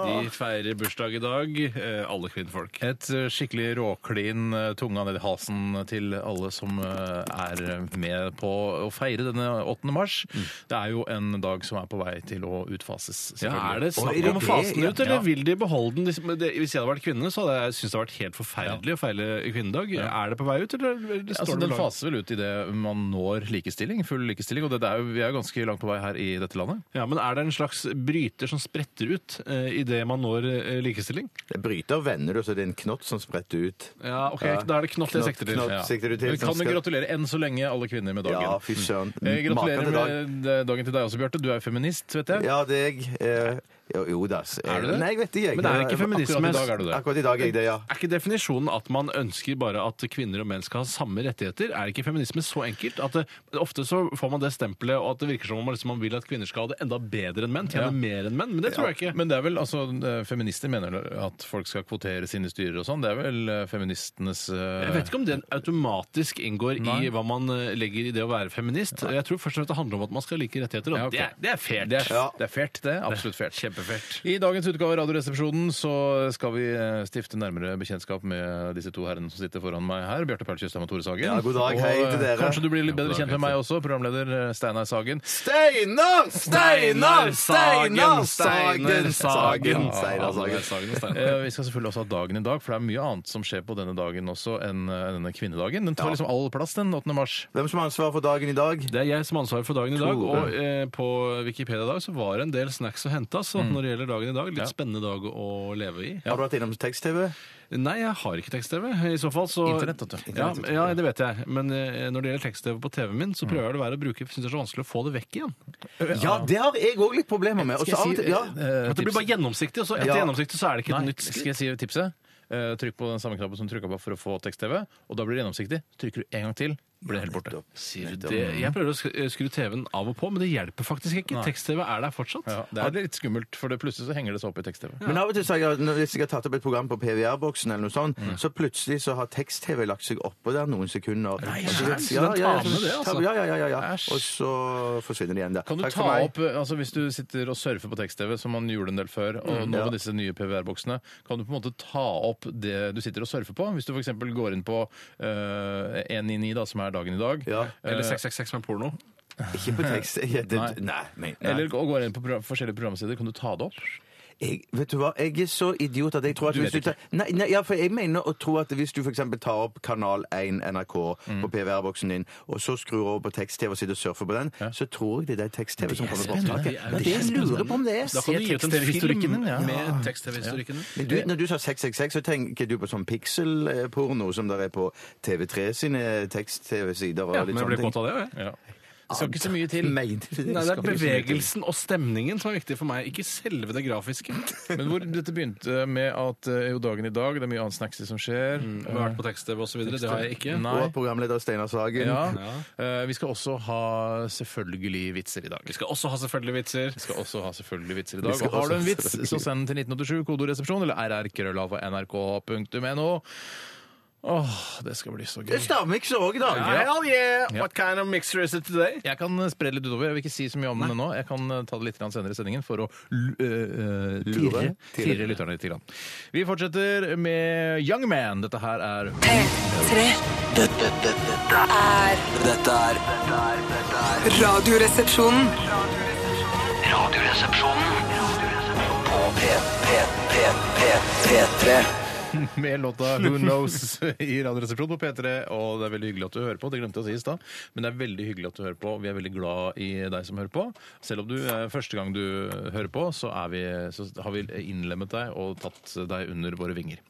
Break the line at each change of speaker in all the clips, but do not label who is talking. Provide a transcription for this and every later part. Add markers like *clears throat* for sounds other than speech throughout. De feirer bursdag i dag, eh, alle kvinnfolk.
Et eh, skikkelig råklin eh, tunga ned i halsen til alle som eh, er med på å feire denne 8. mars.
Mm.
Det er jo en dag som er på vei til å utfases.
Ja,
selvfølgelig.
Er det
Oi,
snakk
er
om å
det
fase den
det?
ut, eller
Ja.
vil de beholde den? Hvis- men det- Hvis jeg hadde vært kvinne, så hadde jeg syntes det hadde vært helt forferdelig å feile kvinnedag. Er det på vei ut, eller eller står det
Altså, den
lag-
faser vel ut idet man når likestilling, full likestilling. Og det, det er jo, vi er jo ganske langt på vei her i dette landet.
Ja, men Er det en slags bryter som spretter ut eh, idet man når eh, likestilling?
Det bryter og vender du, så det er en knott som spretter ut.
Ja, ok,
Ja.
Da er det knott jeg sikter til.
Knott, knott.
Ja.
Sikter du til
Vi kan
som
jo
skal-
gratulere enn så lenge alle kvinner med dagen.
Ja, fy søren.
Eh,
Maken
gratulerer
til dag.
med eh, dagen til deg også, Bjarte. Du er jo feminist, vet jeg.
Ja, det er jeg. Eh, jo, jo da. s- eh,
Er du det?
Nei, jeg vet ikke. Jeg.
Men det er ikke feminisme.
Akkurat i dag er du det.
Akkurat i dag er jeg det, ja.
Er ikke definisjonen at man ønsker bare at kvinner og menn skal ha samme rettigheter? Er ikke feminisme så enkelt? At det, ofte så får man det stempelet, og at det virker som om man, liksom, man vil at kvinner skal ha det enda bedre enn menn. Tjene
Ja.
mer enn menn. Men det tror jeg ikke.
Men det er vel, altså, eh, feminister mener vel at folk skal kvotere sine styrer og sånn. Det er vel eh, feministenes eh,
Jeg vet ikke om den automatisk inngår
Nei.
i hva man eh, legger i det å være feminist. Jeg tror først og fremst det handler om at man skal ha like rettigheter. Og
Ja, ok.
det, er, det er fælt.
det er,
Ja.
det er fælt, det. Absolutt
*laughs*
fælt.
Kjempefælt.
I dagens utgave av Radioresepsjonen så skal vi eh, stifte nærmere bekjentskap med disse to herrene som sitter foran meg her. Bjarte Paul Tjøstheim og Tore Sagen.
Ja, god dag. Hei
Og, eh,
til dere.
Kanskje du blir litt
Ja,
bedre
god dag,
kjent med meg også, programleder eh, Steinar Sagen.
Steinar! Steinar! Steinar! Sagen! Sagen! Steinar Sagen.
Eh, Vi skal selvfølgelig også ha dagen i dag, for det er mye annet som skjer på denne dagen også enn eh, denne kvinnedagen. Den tar
Ja.
liksom all plass, den 8. mars.
Hvem som har ansvar for dagen i dag?
Det er jeg som har ansvaret for dagen i dag.
Tore.
Og eh, på Wikipedia i dag så var det en del snacks å hente. Så når det gjelder dagen i dag, litt
Mm. Ja.
spennende dag å leve i.
Har du vært innom tekst-TV?
Nei, jeg har ikke tekst-TV. I så fall så
Internett, vet du.
Ja, ja, det vet jeg. Men eh, når det gjelder tekst-TV på TV-en min, så prøver jeg å la være å bruke Syns det er så vanskelig å få det vekk igjen.
Ja, det har jeg òg litt problemer med. Og så av og til, ja.
eh,
At det blir bare gjennomsiktig, og så etter
Ja.
gjennomsiktig så er det ikke et
Nei,
nytt
skal jeg si tipset? Eh, Trykk på den samme knappen som du trykka på for å få tekst-TV, og da blir det gjennomsiktig. Trykker du en gang til, blir det helt borte.
Sier du det? Jeg prøver å sk- eh, skru TV-en av og på, men det hjelper faktisk ikke. Tekst-TV er der fortsatt.
Ja, det er litt skummelt, for det plutselig så henger det seg opp i tekst-TV.
Men av og til så har jeg, når- hvis jeg har tatt opp et program på PVR-boksen, eller noe sånn, så plutselig så har tekst-TV lagt seg oppå der noen sekunder. Nei,
æsj, den tar med det, altså.
Ja, ja, ja, ja, ja.
Æsj.
Og så forsvinner det igjen der.
Kan du
Takk for
ta
meg.
opp, altså Hvis du sitter og surfer på tekst-TV, som man gjorde en del før, og
Mm,
nå
ja.
med disse nye PVR-boksene, kan du på en måte ta opp det du sitter og surfer på? Hvis du f.eks. går inn på eh, 199, da, som er dagen i dag, eh,
Ja.
Eller 666 med porno.
Ikke på tekst. Jeg, det, nei. Nei, nei.
eller og går inn på pro forskjellige programsider, kan du ta det opp?
Jeg, vet du hva, jeg er så idiot at jeg tror at
Du
hvis
vet
du tar, nei, nei, ja, for jeg mener å tro at hvis du f.eks. tar opp Kanal 1 NRK
Mm.
på PVR-boksen din, og så skrur over på tekst-TV og sitter og surfer på den, så tror jeg det er det tekst-TV som kommer på opptaket.
Det er
Ja, Det jeg lurer på om det
Da
er.
kan du gi ut en
tekst-TV-historikken
film
din, ja.
med tekst-TV-historikken din.
Men du, når du sa 666, så tenker du på sånn pixel-porno som der er på TV3 sine tekst-TV-sider og
Ja,
litt
men jeg
sånne
blir
ting.
kåt av det, jo, jeg.
Ja. Det skal ikke så mye til.
Mener du det?
Nei, det er
Skal ikke
bevegelsen og stemningen som er viktig for meg, ikke selve det grafiske.
Men hvor dette begynte med at eh, jo dagen i dag, det er mye annet snacksy som skjer.
Vært på tekst-TV osv. Det har jeg ikke.
Mm. Nei.
Og programleder Steinar Sagen.
Ja. Eh, Vi skal også ha selvfølgelig vitser i dag.
Vi skal også ha selvfølgelig vitser.
Vi skal også ha selvfølgelig vitser i
Vi
dag.
skal
Og har du
også ha
en vits,
*laughs* selvfølgelig.
så send den til 1987, kodoresepsjon, eller rrkrøllalfa.nrk.no. Åh, det skal bli så gøy.
Det stammer ikke så òg, da.
Hell yeah!
What
kind of mixer is it today?
Jeg kan spre det litt utover. Jeg vil ikke si så mye om det nå. Jeg kan eh, ta det litt grann senere i sendingen for å l- øh, øh, tirre
Tirre.
tirre lytterne litt. grann. Vi fortsetter med Young Man. Dette her er
P3
Dette, dette, dette er
er
Dette er dette er- dette er
Radioresepsjonen.
Radioresepsjonen på P, P, P, P, P3.
*laughs* med låta Who Knows i Radioresepsjonen på P3. Og det er veldig hyggelig at du hører på. Det glemte jeg å si i stad, men det er veldig hyggelig at du hører på. Vi er veldig glad i deg som hører på. Selv om du er første gang du hører på, så, er vi, så har vi innlemmet deg og tatt deg under våre vinger.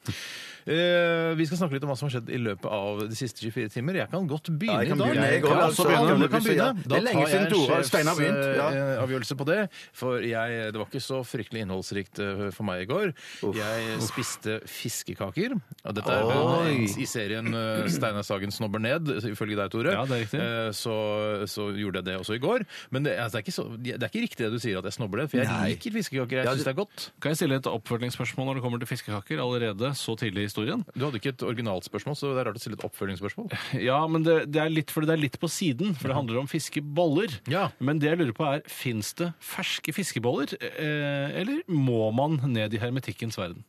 Eh, vi skal snakke litt om hva som har skjedd i løpet av de siste 24 timer. Jeg kan godt begynne
Ja, jeg kan
i dag.
begynne, jeg
kan
også.
også
Ja,
begynne.
kan
Du kan
begynne, ja.
begynne.
Det er
Da
lenge
tar jeg
siden Tore og
en
Stein har begynt, ja.
sjefs- eh, avgjørelse på det. For jeg, det var ikke så fryktelig innholdsrikt eh, for meg i går. Jeg spiste fiskekaker. Ja, dette er vel
Oi.
i serien eh, Steinar Sagen snobber ned, ifølge deg, Tore.
Ja, det er riktig.
Eh, Så, så gjorde jeg det også i går. Men det, altså, det, er ikke så, det er ikke riktig det du sier at jeg snobber det, for jeg liker fiskekaker. Jeg syns det er godt.
Kan jeg stille et oppfølgingsspørsmål når det kommer til fiskekaker allerede så tidlig i historien?
Du hadde ikke et originalt spørsmål, så det er rart å stille et oppfølgingsspørsmål.
Ja, men det, det, er litt, fordi det er litt på siden, for det handler om fiskeboller.
Ja.
Men det jeg lurer på er, fins det ferske fiskeboller, eh, eller må man ned i hermetikkens verden?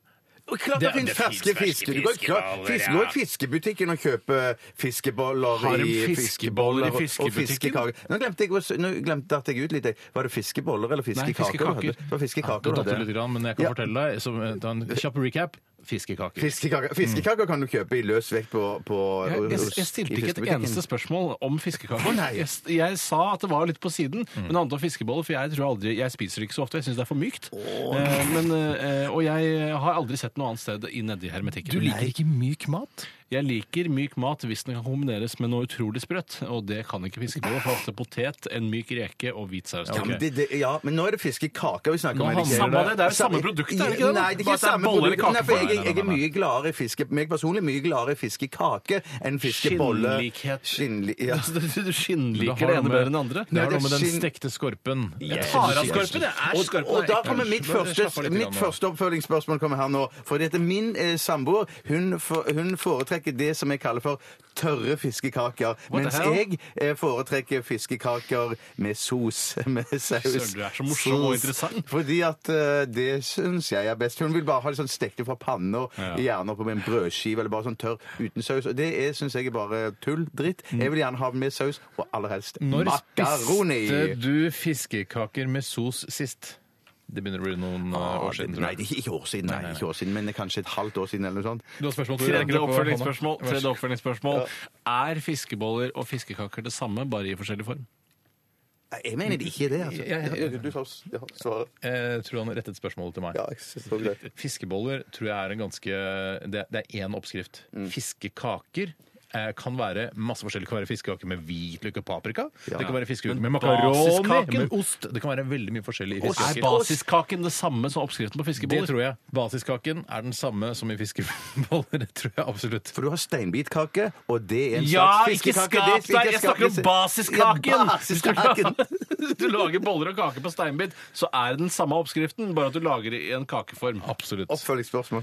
Og Klart det,
Det-
finnes
det
ferske
finnes ferske
fisker. Du går
fiskeboller,
fisk,
ja.
går i fiskebutikken og kjøper fiskeboller
Har de
i-
fiskeboller i
og- og
fiskebutikken?
fiskekaker. Nå glemte jeg, å s- nå glemte jeg jeg ut litt. jeg. Var det fiskeboller eller fiskekaker? du
fiskekaker.
hadde? Det var fiskekaker.
Det
du
datt
hadde.
ut litt, grann, men jeg kan
Ja.
fortelle deg, som eh, ta en kjapp recap, fiskekaker.
Fiskekaker, fiskekaker kan du kjøpe i løs vekt på, på
Jeg, jeg,
hos- i
jeg stilte ikke et
fiskebutikken.
eneste spørsmål om fiskekaker.
Å, nei. Mm.
jeg, s- jeg sa at det var litt på siden, men det handlet om fiskeboller, for jeg tror aldri, jeg spiser det ikke så ofte. Jeg syns det er for mykt. Eh, men, eh, og jeg har aldri sett noe annet sted i nedi hermetikken.
ikke myk mat?
Jeg liker myk mat hvis den kan kombineres med noe utrolig sprøtt, og det kan ikke fiskeboller. For ofte potet, en myk reke og hvit saus.
Ja, men det, det, ja, men nå er det fiskekaker vi snakker
Nå
om. er det ikke?
handler det- det er jo samme produkt, er det ikke det?
Nei, det er ikke
Bare at det er
samme
boller eller
produkt. Nei, for
kake.
jeg,
Nei,
jeg er
nei, nei,
mye gladere i fiske... Meg personlig mye gladere i fiskekake enn fiskebolle.
Skinnlikhet.
Skinnli, ja.
Altså, *laughs* Du, du skinnliker det ene bedre enn det andre.
Det
Nei,
har
det
noe med
er
den
skinn-
stekte skorpen.
Jeg tar
tar
av
av
skorpen, jeg er
Og,
skorpen.
og da kommer mitt
jeg- jeg- jeg
første,
slapper litt
mitt
grann nå.
første oppfølgingsspørsmål kommer her nå. For dette er min eh, samboer. Hun, for, hun foretrekker det som jeg kaller for tørre fiskekaker.
the
Mens
hell?
jeg eh, foretrekker fiskekaker med sos. *laughs* Med saus.
Søren, du er så morsom og
Sos.
interessant.
Fordi at eh, det syns jeg er best. Hun vil bare ha det sånn stekte fra panna, gjerne oppå med en brødskive, eller bare sånn tørr uten saus. Og det syns jeg er bare tull. Dritt.
Mm.
Jeg vil gjerne ha det med saus, og aller helst
Når
makaroni.
spiste du fiskekaker med sos sist? Det begynner å bli noen eh, år siden. tror
Nei,
jeg.
Ah, det er ikke år siden, nei, ikke år siden, men det er kanskje et halvt år siden eller noe sånt.
Du har spørsmål, Tore? Jeg
Tredje
rekker opp hånda.
oppfølgingsspørsmål.
Vær så
Tredje
god.
oppfølgingsspørsmål. Er fiskeboller og fiskekaker det samme, bare i forskjellig form?
Nei, Jeg mener det ikke er det, altså.
Jeg- jeg-
Du får s- ja, svaret.
Jeg Eh, tror han rettet spørsmålet til meg.
Ja, jeg synes det var greit.
Fiskeboller tror jeg er en ganske Det, det er én oppskrift.
Mm.
Fiskekaker eh, kan være masse forskjellig. Det kan være fiskekaker med hvitløk og paprika. Det kan være fiskekaker med
basiskaken?
makaroni, med ost Det kan være veldig mye forskjellig i
Er
fiskekaker.
basiskaken det samme som oppskriften på
Det
fiskeboller?
tror jeg. Basiskaken er den samme som i fiskeboller. *laughs* Det tror jeg absolutt.
For du har steinbitkake, og det er en
Ja,
slags
ikke
fiskekake.
skap deg!
Det er-
Jeg snakker om basiskaken!
Ja,
*laughs*
basiskaken.
*laughs* Hvis du lager boller og kaker på steinbit, så er det den samme oppskriften, bare at du lager det i en kakeform.
Absolutt.
Oppfølgingsspørsmål.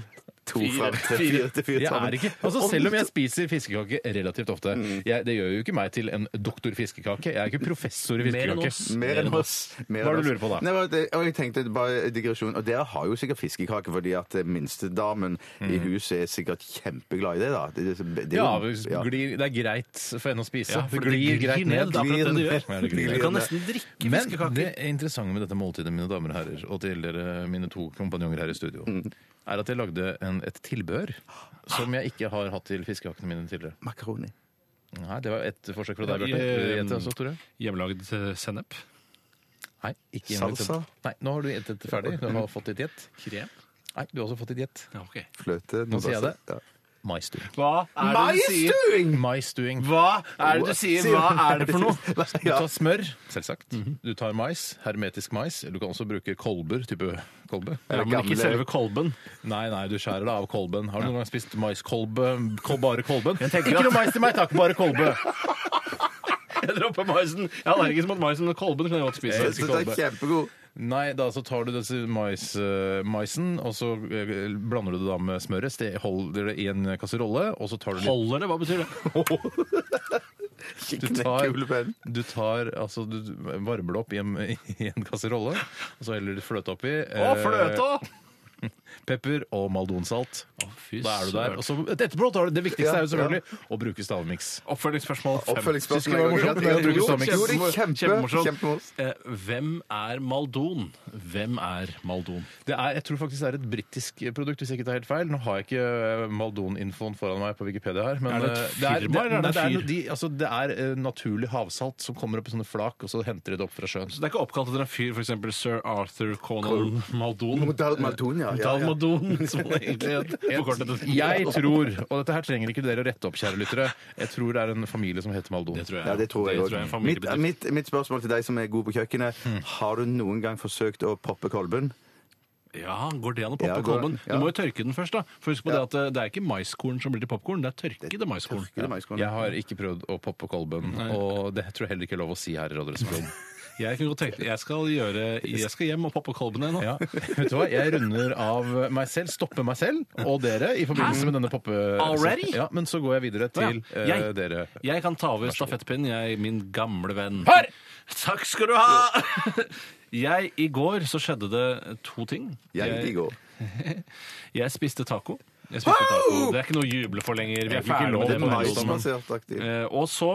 To
Fire.
frem til
Fire.
fire til fire.
Jeg
sammen.
er ikke, altså Selv om Mm. jeg spiser fiskekake relativt ofte, jeg, det gjør jo ikke meg til en doktor fiskekake. Jeg er ikke professor
Mer
i
enn
fiskekake.
oss.
Mer enn oss. Mer
Hva
enn
er det du
oss.
lurer på da?
Nei, det, og jeg tenkte bare digresjon, og Dere har jo sikkert fiskekake, fordi at eh, minstedamen i huset er sikkert kjempeglad i det. da. Det, det, det, det,
Mm. Ja, hvis glir, det er greit for henne å spise.
Ja, for
det
det
glir
glir
greit
ned,
ned.
da. akkurat det du gjør.
Ja, det glir
Du
ned.
kan nesten drikke
Men
fiskekaker.
det interessante med dette måltidet, mine damer og herrer, og til dere, mine to kompanjonger her i studio, er at jeg lagde en, et tilbehør som jeg ikke har hatt til fiskekakene mine tidligere.
Makaroni.
Nei, Det var et forsøk fra deg,
Ja, i,
Bjarte. Vil du
eh,
gjette også, Tore?
Hjemmelagd eh, sennep.
Nei, ikke hjemme.
Salsa?
Nei, nå har du gjettet ferdig. Du har fått ditt gjett.
Krem?
Nei, du har også fått ditt gjett.
Ja, ok.
Fløte.
Nå sier jeg det.
Ja.
Maistuing.
Hva er det du sier?
Maiestuing!
Maistuing.
Hva er det du sier? Hva er det
*laughs*
for noe?
Du
Ja.
tar smør, selvsagt.
Mhm.
Du tar mais, hermetisk mais. Du kan også bruke kolber, type kolbe.
Ja, men ikke
Gamle-
selve kolben.
Nei, nei, du skjærer det av kolben. Har du noen gang spist maiskolbe? Kol- Bare kolben?
tenker
Ikke
at-
noe mais til meg, takk.
*laughs*
Bare kolbe.
Jeg dropper maisen. Jeg er allergisk mot maisen, men kolben kan jeg godt spise.
Jeg synes det er kjempegod.
Nei, da så tar du disse mais, eh, maisen, og så eh, blander du det da med smøret. Ste- Holder det i en kasserolle, og så tar du litt
Holder det? Hva betyr det?
Du tar, du tar altså Du *laughs* varmer det opp i en, i en kasserolle, og så heller du fløte oppi.
Å, fløte!
eh, pepper og maldonsalt.
fy
da er du der.
søren.
Og så etterpå tar du Det viktigste er jo
Ja,
selvfølgelig å bruke stavmiks.
Oppfølgingsspørsmål fem.
Oppfølgingsspørsmål.
Synes ikke det var morsomt? Jeg tror ikke
Jo,
stammiks.
jo, det er kjempe,
Kjempemorsomt.
kjempemorsomt.
Eh, Hvem er Maldon? Hvem er Maldon?
Det er, jeg tror faktisk det er et britisk produkt, hvis jeg ikke tar helt feil. Nå har jeg ikke eh, Maldon-infoen foran meg på Wikipedia her. Men
Er det et
eh,
firma, eller er det
nei,
en
det er,
fyr?
noe- de, altså, det er eh, naturlig havsalt som kommer opp i sånne flak, og så henter de det opp fra sjøen.
Så det er ikke oppkalt etter en fyr, f.eks. sir Arthur Conan Maldon?
Modal Maldon, ja, ja, ja.
Dalmadon, som det egentlig *laughs* het. Forkortet det.
Jeg tror, og dette her trenger ikke dere å rette opp, kjære lyttere, jeg tror det er en familie som heter Maldon.
Det tror jeg.
Ja, det tror jeg
Det
òg.
tror jeg er en Hmm.
Mitt,
familiebedrift.
mitt, mitt spørsmål til deg som er god på kjøkkenet, har du noen gang forsøkt å poppe kolben?
Ja, går det an å poppe
Ja, går-
kolben?
ja.
Du må jo tørke den først, da. For husk på det at eh, det er ikke maiskorn som blir til popkorn, det er tørkede maiskorn.
Ikke det, Maiskolen?
Jeg har ikke prøvd å poppe kolben, og det tror jeg heller ikke er lov å si her i Radioresepsjonen.
Jeg kan godt tenke jeg skal gjøre Jeg skal hjem og poppe kolbene nå.
*laughs* Ja. Vet du hva, jeg runder av meg selv, stopper meg selv og dere i forbindelse med denne poppe...
Already?
Ja, men så går jeg videre til
Å ja,
eh, dere.
Jeg kan ta over stafettpinnen, jeg, min gamle venn.
Her!
*laughs* Takk skal du ha! *laughs* Jeg, I går så skjedde det to ting.
Jeg i går.
jeg spiste taco. Jeg spiste taco. Det er ikke noe å juble for lenger. Vi er
fikk ikke
ferdig
lov
med det.
til
på
å
radioen.
Maiskolen.
Maisbasert-aktig.
Eh, og så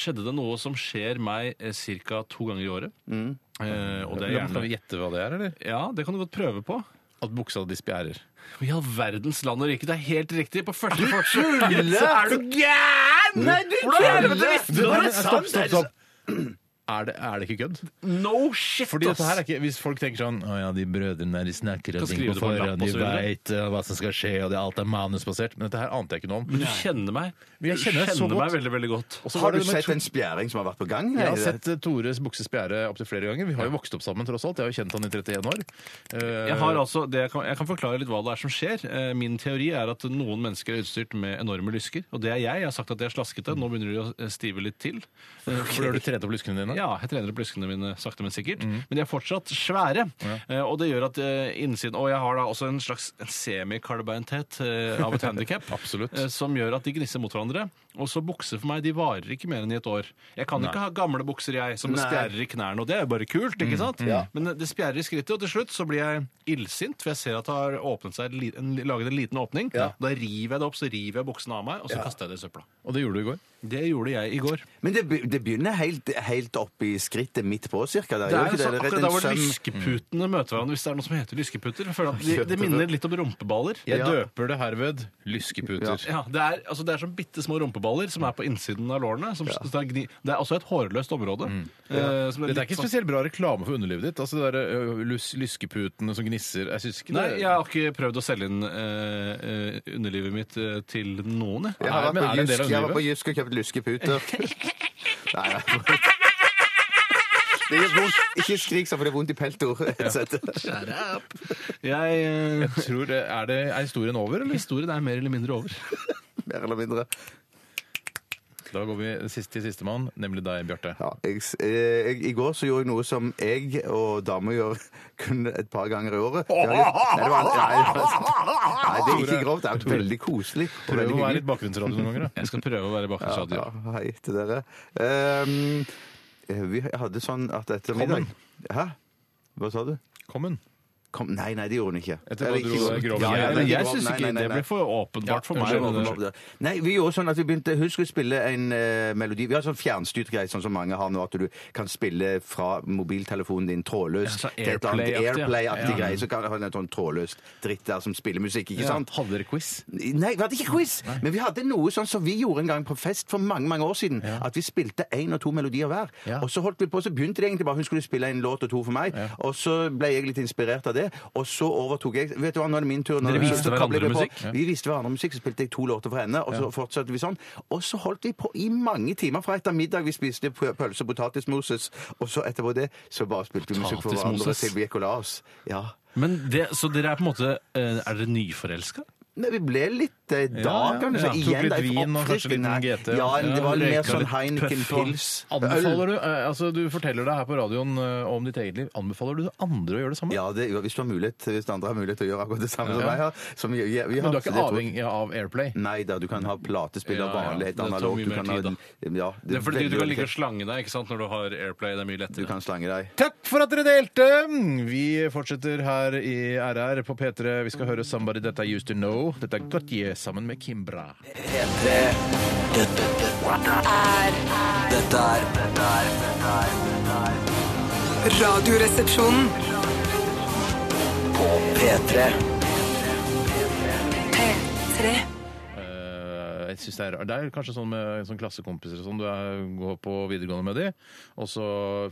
skjedde det noe som skjer meg eh, ca. to ganger i året. Eh, og det er
Kan
gjerne
vi gjette hva det er, eller?
Ja, det kan du godt prøve på.
At buksa di spjærer.
I all verdens land og rike, det er helt riktig. På første forsøk *laughs* er du gæren! Nei, du
Men, Stopp, stopp, stopp! Er det, er det ikke kødd?
No shit,
Fordi dette her er ikke, Hvis folk tenker sånn Å ja, de brødrene der de snakker og
Kan
ting
skrive
på
det på en lapp
forhånd, de
og så videre.
veit hva som skal skje, og det, alt er manusbasert Men dette her ante jeg ikke noe om.
Du kjenner meg.
Men jeg kjenner deg så
meg
godt.
veldig, veldig godt.
Og så var
Har du
det med
sett
to-
en spjæring som har vært på gang?
Jeg har
Nei,
sett eh, Tores bukse spjære opptil flere ganger. Vi har jo vokst opp sammen, tross alt. Jeg har jo kjent han i 31 år. Eh,
Jeg, har altså, det jeg, kan, jeg kan forklare litt hva det er som skjer. Eh, Min teori er at noen mennesker er utstyrt med enorme lysker. Og det er jeg. Jeg har sagt at jeg er slaskete. Nå begynner de å eh, stive litt til. Eh,
For da har du trent opp lyskene dine?
Ja, jeg trener opp lyskene mine sakte, men sikkert. Men de er fortsatt svære. Eh, og det gjør at eh, innsiden Og jeg har da også en slags semikarbeinthet eh, av et handikap.
Absolutt.
som gjør at de gnisser mot hverandre. Og så bukser for meg, de varer ikke mer enn i et år. Jeg kan ikke ha gamle bukser, jeg, som
Nei.
spjærer i knærne. Og det er jo bare kult, ikke sant? Men eh, det spjærer i skrittet, og til slutt så blir jeg illsint, for jeg ser at det har åpnet seg en, li- en, laget en liten åpning. Da river jeg det opp, så river jeg buksene av meg, og så kaster jeg det i søpla.
Og det gjorde du i går?
Det gjorde jeg i går.
Men det, be- det begynner helt, helt opp i skrittet midt på, cirka. Der.
Det
gjør
er
ikke det? Det
sånn,
er rett
akkurat der hvor
en søm-
lyskeputene møter hverandre, hvis det er noe som heter lyskeputer. Jeg føler at de- Det minner litt om rumpeballer.
Jeg
Ja.
døper det herved lyskeputer.
Ja, det, er, altså det er som bitte små rumpeballer som er på innsiden av lårene. Som, som er gni, det er også et hårløst område.
Mm.
eh, som er
Dette er
litt
ikke
sånn-
spesielt bra reklame for underlivet ditt. Altså det der, ø, lys, Lyskeputene som gnisser Jeg syns ikke det
Nei, jeg har ikke prøvd å selge inn eh, eh, underlivet mitt eh, til noen. Jeg.
Jeg har
Nei, men
vært på
er det en del
Jysk-
av
jeg har vært på
livet?
Jysk og kjøpt
*laughs*
lyskeputer. Nei, nei. Det gjør vondt. Ikke skrik sånn, for det er vondt i peltor.
Jeg, eh, *laughs*
Jeg *laughs* tror, det- er, det, er historien over, eller?
historien er mer eller mindre over.
Mer eller mindre.
Da går vi sist til sistemann, nemlig deg, Bjarte.
Ja, jeg, s- eh, jeg, I går så gjorde jeg noe som jeg og damer gjør kun et par ganger i året. Det har jeg- Nei, det var, nei, det var- nei, det er ikke grovt. Det er veldig koselig. og
Prøv
veldig
å
hyggelig.
være litt bakgrunnsradio noen
*laughs*
ganger. da.
Jeg skal prøve å være bakgrunnsradio.
Ja, ja, hei til dere. Ehm, eh, vi hadde sånn at etter middag Hæ? Hva sa du?
Kommen.
Kom, nei, nei, det gjorde hun ikke.
Etter
Eller
hva du
ikke sånn-
dro grov-
Ja, ja,
Nei,
nei,
Men jeg
grov-
syns
nei,
ikke
nei, nei,
det ble
nei.
for åpenbart for
Unnskyld,
meg.
unnskyld. Nei, vi gjorde sånn at vi begynte Husk å spille en eh, melodi. Vi har sånn fjernstyrt greie, sånn som mange har nå, at du kan spille fra mobiltelefonen din trådløst.
Ja, sånn
til et eller annet
Airplay-aktig, ja.
Airplay-aktig
Ja.
greie. Så kan du ha en sånn trådløst dritt der som spiller musikk, ikke sant?
Hadde dere quiz?
Nei, vi hadde ikke quiz, men vi hadde noe sånn som vi gjorde en gang på fest for mange mange år siden. At vi spilte én og to melodier hver.
Ja.
Og så holdt vi på, så begynte det egentlig bare hun skulle spille en låt og to for meg. Og så ble jeg litt inspirert av det, og så overtok jeg. Vet du hva, nå er det min tur. Nå er det
Dere
min
viste
tur, så kobler
hverandre
vi på.
musikk? Ja.
Vi viste hverandre musikk, så spilte jeg to låter fra henne, og så fortsatte vi sånn. Og så holdt vi på i mange timer fra etter middag. Vi spiste pø- pølse og potatismoses, og så etterpå det så bare spilte vi musikk for hverandre
Potatismoses?
til vi gikk og la oss. Ja.
Men det, så dere er på en måte eh, Er dere nyforelska?
Nei, vi ble litt eh, da,
ja.
kanskje.
Ja, tok
Igjen,
litt
det er
vin og kanskje
oppfriskende.
litt GT,
Ja,
ja.
det var
Ja,
mer
røyka
sånn
litt
Heineken
puff og-
pils. øl.
Anbefaler du, eh, altså du forteller deg her på radioen eh, om ditt eget liv. Anbefaler du andre å gjøre det samme?
Ja, det, hvis du har mulighet, hvis de andre har mulighet til å gjøre akkurat det samme
Ja.
som jeg har. Som vi, vi, vi har
Men du er
så
ikke
det tror jeg-
avhengig av Airplay?
Nei da, du kan ha platespill
Ja,
av
ja.
vanlig, helt
Det tar
analogt.
mye
Du
mer
kan ha
tid, da.
den- ja,
Det er fordi
veldig
du kan ligge og
organisert.
slange deg ikke sant, når du har Airplay. Det er mye
Du
lettere.
kan slange deg.
Takk for at dere delte! Vi fortsetter her i RR på P3. Vi skal høre 'Somebody That I Used To Know'. Dette er Gautier sammen med Kimbra.
P3 Dette, dette er Dette er Dette er Dette er dette er
Radioresepsjonen.
På P3
P3.
Eh, jeg synes det, er, rart. det er kanskje sånn med sånn klassekompiser og sånn. Du er, går på videregående med de, og så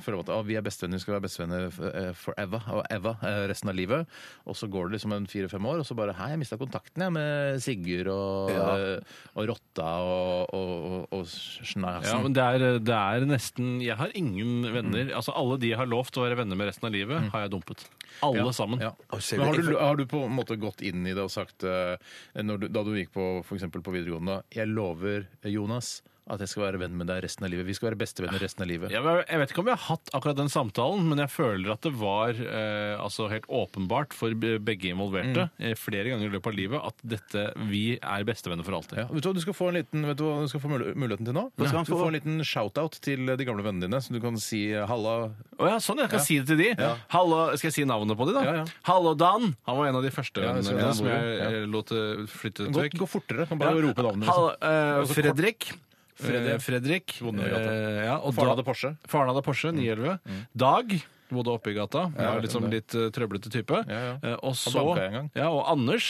føler man at ah, vi er bestevenner, vi skal være bestevenner f- eh, forever og ever eh, resten av livet. Og så går det liksom en fire-fem år, og så bare Hei, jeg mista kontakten jeg med Sigurd og,
Ja.
eh, og Rotta og, og, og, og Schneisen.
Ja, men det er, det er nesten Jeg har ingen venner. Altså Alle de jeg har lovt å være venner med resten av livet, har jeg dumpet. Alle sammen.
Ja.
Og selv-
Men har, du, har du på en måte gått inn i det og sagt, eh, når du, da du gikk på, for eksempel på videregående, jeg lover eh, Jonas at jeg skal være venn med deg resten av livet. Vi skal være bestevenner resten av livet.
Jeg, jeg vet ikke om vi har hatt akkurat den samtalen, men jeg føler at det var eh, altså helt åpenbart for be- begge involverte eh, flere ganger i løpet av livet at dette, vi er bestevenner for alltid.
Ja, vet du hva du skal få, en liten, vet du hva du skal få mul- muligheten til nå? Du
skal han
skal
få?
få en liten shout-out til de gamle vennene dine, så du kan si eh, halla.
Å ja, sånn, jeg kan si det til de. Hallo, skal jeg si navnet på de, da?
Ja, ja.
Hallo, Dan! Han var en av de første
Ja, jeg
vennene
husker
mine
det.
som jeg
Ja.
eh, lot eh, flytte ut
Gå,
vekk.
gå fortere, kan bare
Ja.
rope navnet.
Hallo,
Liksom.
eh,
Og så kort-
Fredrik.
Fredrik.
Eh, Fredrik.
Bodde nede i gata.
Eh, ja, og
Faren Mm.
da-
hadde Porsche.
Faren hadde Porsche 911. Dag bodde oppe i gata. Var liksom litt eh, trøblete type.
Ja, ja.
Eh, og
Han
så
banka jeg en gang.
Ja, og Anders.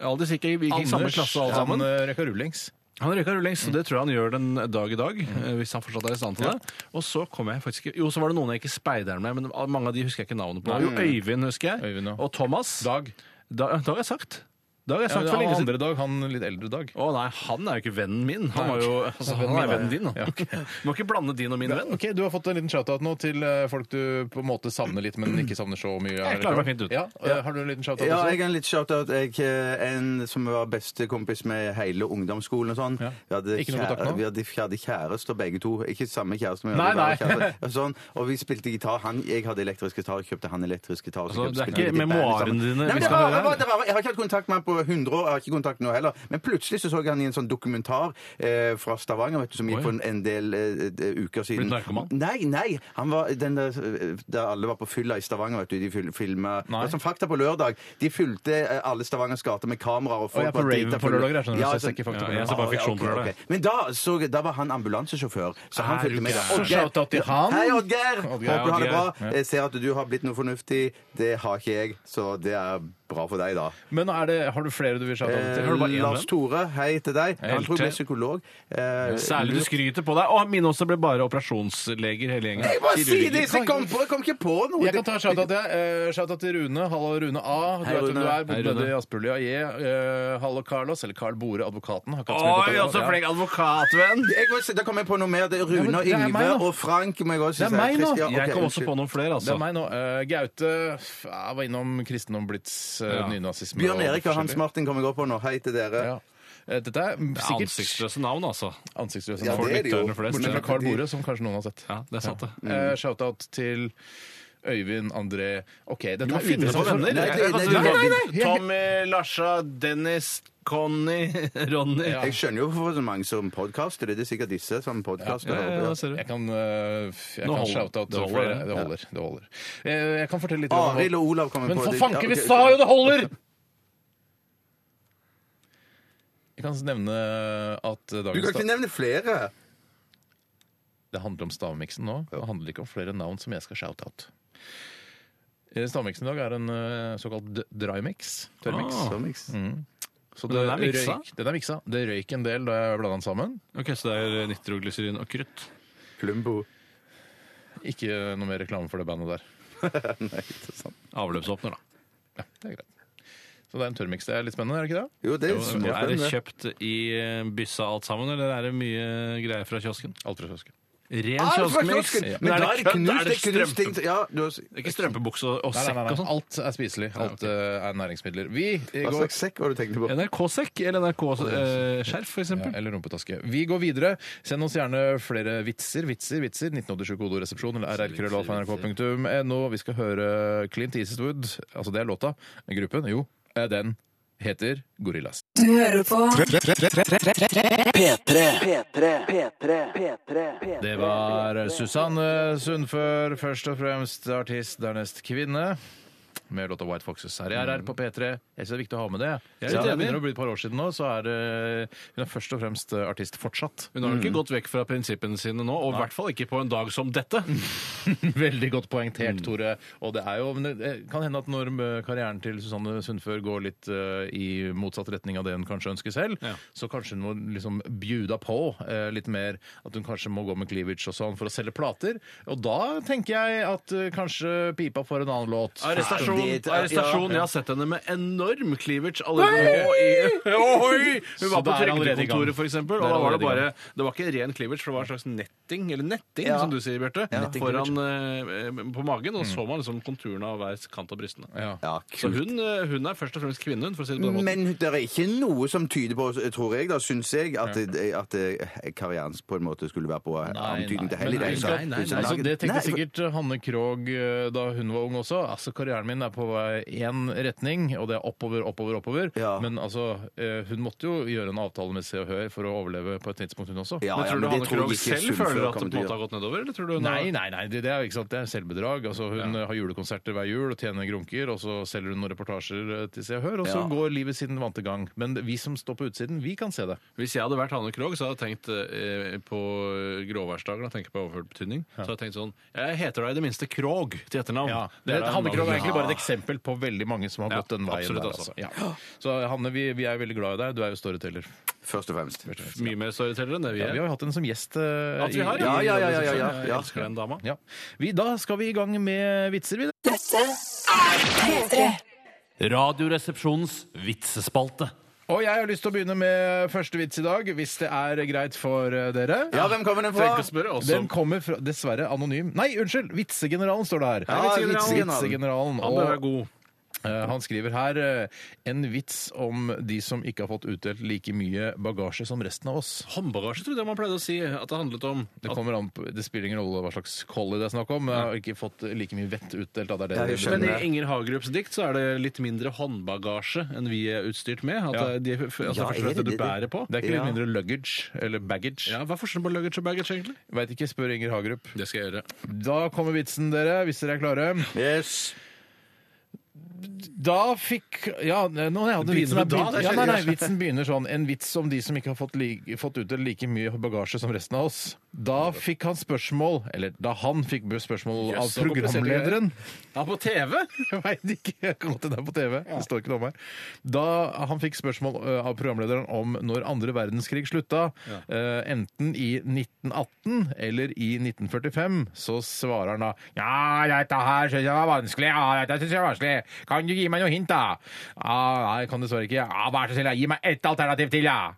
Aldri sikker, vi gikk i samme klasse alle sammen.
han eh, røyka rullings.
Han røyka rullings,
Mm.
så det tror jeg han gjør den dag i dag. eh, Hvis han fortsatt er i stand til det. Og så kom jeg faktisk Jo, så var det noen jeg ikke speideren med, men mange av de husker jeg ikke navnet på. Jo, Øyvind husker jeg.
Øyvind, ja.
Og Thomas.
Dag.
Da, da har jeg sagt. Da har jeg
Ja,
sagt
men
for
han
lenge siden.
andre dag, han litt eldre dag.
Å nei, han er jo ikke vennen min. Han, var jo, altså, han
min,
er
da.
vennen din. Da.
Ja, ok.
Du må ikke blande din og min venn.
Ok, Du har fått en liten shout-out nå til eh, folk du på en måte savner litt, men ikke savner så mye.
Jeg klarer meg fint ut.
Ja, eh, har du en liten shout-out
Ja, jeg
også?
har en litt shout-out. Jeg, eh, En som var bestekompis med hele ungdomsskolen og sånn.
Ja.
Vi hadde,
Ikke noe kontakt nå?
kjære, vi hadde, vi hadde kjærester begge to. Ikke samme kjæreste, men
Nei,
vi hadde
nei.
kjærester. Og Sånn. Og vi spilte gitar. Han, jeg hadde elektrisk gitar, kjøpte han elektrisk gitar. så
Altså,
kjøpte-
det er
spilte
ikke
vi litt band
memoarene
sammen.
dine vi
Nei, men det
skal
var-
høre her.
var- det var- Jeg har ikke hatt kontakt med han på 100 år, jeg har ikke kontakt nå heller. Men plutselig så så jeg han i en sånn dokumentar eh, fra Stavanger vet du, som gikk
Oi.
for en- en del eh, eh, uker siden.
Blitt narkoman?
Nei, nei. Han var den der, eh, der alle var på fylla i Stavanger, vet du. De fil- filma
Nei.
Som Fakta på lørdag. De fulgte eh, alle Stavangers gater med kameraer og folk
Å, ja, på
var
raven
drita
på
fulle.
lørdager, jeg skjønner. Så jeg
altså-
ser ikke Fakta på
Ja, jeg ser bare fiksjon på
ok,
lørdag.
ok. Men da, så, da var han ambulansesjåfør, så han
Er
fulgte
du
med.
gæren?
Oddgeir-
Så shout-out til han.
Hei, Oddgeir!
Oddgeir,
Håper du har det
Oddgeir.
bra. Jeg ser at du har blitt noe fornuftig. Det har ikke jeg, så det er bra for deg, da. Eh,
Men er det, har du flere du vil shout-out til?
har du bare én
Lars
venn?
Tore, hei til deg. Han
Helt
tror jeg ble
til.
psykolog. Eh,
Særlig du skryter på deg. Å, mine også ble bare operasjonsleger hele gjengen.
Jeg bare si det!
Kirurger.
så Jeg kom, på, jeg kom ikke på noe.
Jeg kan ta shout-out jeg. Eh, shout-out til Rune. Hallo, Rune A. Du
Hei,
vet hvem
Rune.
du er. Bodde
Hei, Rune.
nede i Aspulia. Yeah. Eh, hallo, Carlos. Eller Carl Bore, advokaten. Har ikke hatt så mye
Oi,
kontakt.
altså
Ja.
flink advokatvenn!
Jeg må si- da kom jeg på noe mer. Det er
men
Rune og
det er
Yngve
meg nå.
og Frank. Må jeg også si.
Det er meg nå.
Christian- ok,
Jeg kom også
unnskyld.
på noen flere,
Det
altså.
er meg nå. Eh, Gaute f- jeg var innom kristendom, blitz, eh,
Ja.
nynazisme
Bjørn
og
Erik og Hans
forskjellig.
Martin kommer jeg også på nå. Hei til dere.
Ja. Eh, Dette er
Det er
sikkert
Ansiktsløse navn, altså.
ansiktsløse
Ja,
navn.
For
det er det jo.
lytterne flest.
Bortsett fra
Ja,
Carl Bore, som kanskje noen har sett.
Ja, det er sant, det.
Eh, shout-out til Øyvind, André OK, dette
Du må finne på
uinteressant for-
venner.
Nei,
Jeg-
det-
jeg-
nei,
altså,
nei, nei,
nei.
Tommy, Larsa, Dennis, Conny, *laughs* Ronny.
Ja.
Jeg skjønner jo hvorfor så mange som podkaster. Det er sikkert disse som podkaster.
Ja, ser du.
Jeg kan, øh, f- jeg
Nå
kan
holder- det
shout-out til
holder,
flere.
det.
Det holder. Det holder. Jeg, jeg kan fortelle litt om-
Arild og Olav kommer
Men
på
for
det.
fanken,
Ja,
vi
ok.
sa jo det *laughs* holder! Jeg kan nevne at
Du kan
dagens
ikke
da
nevne flere.
Det handler om stavmiksen nå. Det handler ikke om flere navn som jeg skal shout-out. Eh, Stavmiksen i dag er en øh, såkalt d- dry mix. Tørrmix.
Ah.
Somix.
Så
Men den er miksa?
røyk- Den er miksa. Det røyk en del da jeg blanda den sammen.
Ok, Så det er nitroglyserin og krutt.
Plumbo.
Ikke noe mer reklame for det bandet der.
Avløpsåpner, da.
Ja, det er greit. Så det er en tørrmix. Det er litt spennende, er det ikke det?
Jo, det er
Er det
småspennende.
kjøpt i eh, byssa alt sammen, eller er det mye greier fra kiosken?
Alt fra søsken.
Ren
Alt var
kioskmiks.
kiosken!
Ja.
Men
Men er
da er
det
det
kødd? Er
knust,
det
det er knust ting
strømpe?
Ja, du har
Det er ikke strømpebukse og, og
Nei, nei,
sekk
nei,
og
nei.
sånn?
Alt er spiselig. Alt eh, er næringsmidler. Vi
altså. Hva
går
slags sekk var det du tenkte på?
NRK-sekk eller NRK-skjerf, eh, for
ja,
eksempel.
eller rumpetaske. Vi går videre. Send oss gjerne flere vitser, vitser, vitser. 1987-kodoresepsjon eller rrkrøllalfa.nrk.no. Vi skal høre Clint Eastwood. Altså, det er låta. Gruppen. Jo, eh, den heter Gorillas.
Du hører på
P3. P3. P3. P3. P3.
Det var Susanne Sundfør, først og fremst artist, dernest kvinne. Med låta White Foxes her i RR på P3. Jeg synes det er viktig å ha med det.
Jeg er litt
Siden det
enig.
begynner å bli et par år siden nå, så er det, hun er først og fremst artist fortsatt.
Hun har jo ikke gått vekk fra prinsippene sine nå, og i hvert fall ikke på en dag som dette.
*laughs* Veldig godt poengtert, Tore. Og det er jo, men det kan hende at når eh, karrieren til Susanne Sundfør går litt eh, i motsatt retning av det hun kanskje ønsker selv,
Ja.
så kanskje hun må liksom bjuda på eh, litt mer. At hun kanskje må gå med cleavage og sånn for å selge plater. Og da tenker jeg at eh, kanskje pipa får en annen låt.
Det-
Arrestasjon!
ja.
arrestasjon. Jeg har sett henne med enorm cleavage allerede nå. I, *laughs* Ohoi! Hun
Så
var på
det er allerede i gang.
Trygdekontoret, f.eks., og
Det er
da var det
allerede i
bare Det var ikke ren cleavage, for det var en slags netting, eller netting,
Ja.
som du sier, Bjarte,
Netting
foran eh, på magen, og så man liksom konturene av hver kant av brystene.
Ja.
Ja,
Så
kult.
hun, eh, hun er først og fremst kvinne, hun, for å si det på den måten.
Men det er ikke noe som tyder på, tror jeg, da syns jeg, at, at eh, karrieren på en måte skulle være på antydning til
Men
hellig.
husk at- Altså, det tenkte
for-
sikkert Hanne Krogh eh, da hun var ung også. Altså, Karrieren min er på vei én retning, og det er oppover, oppover, oppover.
Ja.
Men altså, eh, hun måtte jo gjøre en avtale med Se og Hør for å overleve på et tidspunkt, hun også.
Ja,
Men
ja,
tror
men
du
det
Hanne
tror jeg
Krogh
ikke
selv
Sundfør
føler at det på
kommer
en
til å
måte har gått nedover, eller tror du hun har-
Nei, nei, nei, det, det, er, ikke sant? det er selvbedrag. Altså, hun eh, har julekonserter hver jul og tjener grunker, og så selger hun noen reportasjer eh, til Se og Hør, og så
Ja.
går livet sin vante gang. Men vi som står på utsiden, vi kan se det.
Hvis jeg hadde vært Hanne Krogh, så hadde jeg tenkt eh, på gråværsdagen og tenker på overført betydning. Så hadde jeg tenkt sånn Jeg heter da i det minste Krogh til etternavn.
Det er,
da
Hanne Krogh er
navnet.
egentlig bare et eksempel på veldig mange som har
Ja,
gått den veien.
absolutt,
der,
altså.
altså. Ja. Så Hanne, vi, vi er veldig glad i deg. Du er jo storyteller.
Først og fremst.
Mye mer storytellere enn det vi
Ja,
er.
vi har jo hatt henne som gjest. eh,
At vi har,
i-
Ja, ja, ja, ja, ja, ja.
Jeg elsker den dama.
Ja. Vi, da skal vi i gang med vitser, vi.
Radioresepsjonens vitsespalte.
Og jeg har lyst til å begynne med første vits i dag, hvis det er greit for eh, dere.
Ja, hvem kommer den
Tenk å
fra?
spørre altså. også.
Den kommer fra, dessverre anonym Nei, unnskyld! Vitsegeneralen står det her.
Ja, vitsegeneralen.
vitsegeneralen.
Han bør være
Og
god.
eh, han skriver her eh, en vits om de som ikke har fått utdelt like mye bagasje som resten av oss.
Håndbagasje trodde jeg man pleide å si at det handlet om.
Det, kommer an på, det spiller ingen rolle hva slags collie det er snakk om. men Jeg har ikke fått like mye vett utdelt. Da. Det er det
Ja, jeg
det-
Men i
skjønner.
Inger Hagerups dikt så er det litt mindre håndbagasje enn vi er utstyrt med. At
Ja.
det, er de, altså, det
Ja,
er først og
er det
fremst det du
det?
bærer på.
Det er
Ja.
ikke mindre luggage eller baggage.
Ja, Hva er forskjellen på luggage og baggage, egentlig?
Veit ikke, spør Inger Hagerup.
Det skal jeg gjøre.
Da kommer vitsen, dere, hvis dere er klare.
Yes.
Da fikk Ja, nå ja, den vitsen
Begynner
er
du da?
begynt- ja, nei, nei, vitsen begynner sånn. En vits om de som ikke har fått, li, fått utdelt like mye bagasje som resten av oss. Da fikk han spørsmål Eller da han fikk spørsmål
Jøss,
av
så kompliserte
programlederen.
Ja, på TV!
Jeg veit ikke. Jeg kan godt hende det er på TV. Det står ikke noe om her. Da han fikk spørsmål ø, av programlederen om når andre verdenskrig slutta, ø, enten i 1918 eller i 1945, så svarer han da Ja, dette her syns jeg var vanskelig. Ja, dette synes jeg var vanskelig. Kan du gi meg noe hint, da? Ja, nei, jeg kan dessverre ikke. Ja, Vær så snill, da. gi meg ett alternativ til, ja.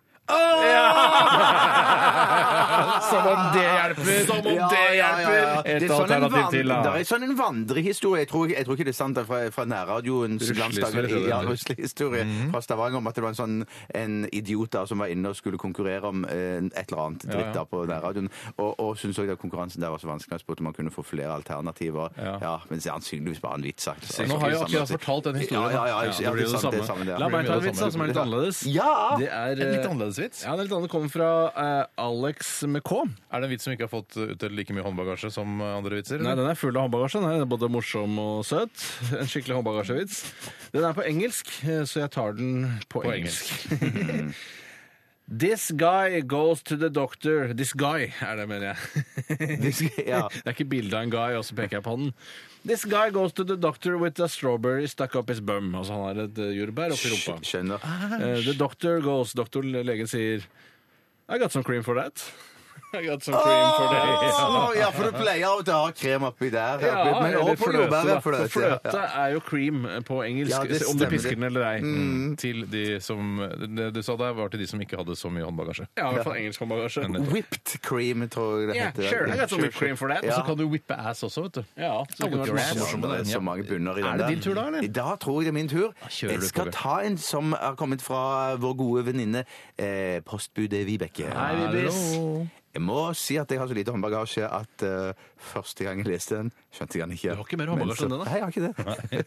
Ja! Som om det hjelper!
Som om det hjelper!
Et
Det er sånn en,
alternativ
van
til, da.
det er sånn en vandrehistorie. Jeg tror, jeg tror ikke det er sant det er fra, fra nærradioens
tror
glansdager.
jeg det er.
Ja, ruslehistorie
Mhm.
fra Stavanger om at det var en sånn en idiot da som var inne og skulle konkurrere om eh, et eller annet dritt da på nærradioen. Og, og syntes også at konkurransen der var så vanskelig. Jeg spurte om han kunne få flere alternativer. Ja, Men det er sannsynligvis bare en vits sagt.
Nå har jo akkurat fortalt den
Ja,
historien.
ja, ja, ja,
det blir
det er
jo det
sant, det er
samme.
samme, det er.
La meg ta en vits da, som er litt
Ja.
annerledes.
Ja!
Det er, eh,
En litt annerledes vits.
Ja, det er litt annerledes. kommer fra eh, Alex med K.
Er det en vits som ikke har fått utdelt like mye håndbagasje som andre vitser?
Nei, den er full av håndbagasje. Den er både morsom og søt. En skikkelig håndbagasjevits. Den er på engelsk, eh, så jeg tar den på,
På
engelsk. *laughs* Mm. This guy goes to the doctor. This guy, er det, mener jeg.
ja.
*laughs* Det er ikke bilde av en guy, og så peker jeg på den. This guy goes to the doctor with a strawberry stuck up his bum. Altså han har et eh, jordbær oppi rumpa.
Skjønner.
Eh, the doctor goes. Doktor, legen sier I got some cream for that. *laughs* I got some cream for days.
Åh, ja, for du pleier av og til å ha krem oppi der.
Ja,
oppi, men
eller
også på
fløte,
jordbær
da.
og fløte.
For fløte er jo cream på engelsk,
Ja, det
om du
stemmer.
pisker den eller ei. Mm.
Til de som Det du sa der, var til de som ikke hadde så mye håndbagasje.
Ja, i hvert fall engelsk håndbagasje.
Ja. Whipped cream, tror jeg det
Yeah,
heter.
sure, I got some whipped cream for that.
Ja.
Så kan du whippe ass også, vet du.
Ja, så det kunne vært
Ja,
masse morsomt.
morsomt
det er så mange bunner i den
Er det din tur da, eller?
I dag tror jeg det er min tur.
kjører
Jeg
du
skal
toget.
ta en som har kommet fra vår gode venninne eh, postbudet Vibeke.
Hallo.
Jeg må si at jeg har så lite håndbagasje at eh, første gang jeg leste den, skjønte jeg den ikke. Du
har ikke mer håndbagasje enn den, da?
Nei, jeg har ikke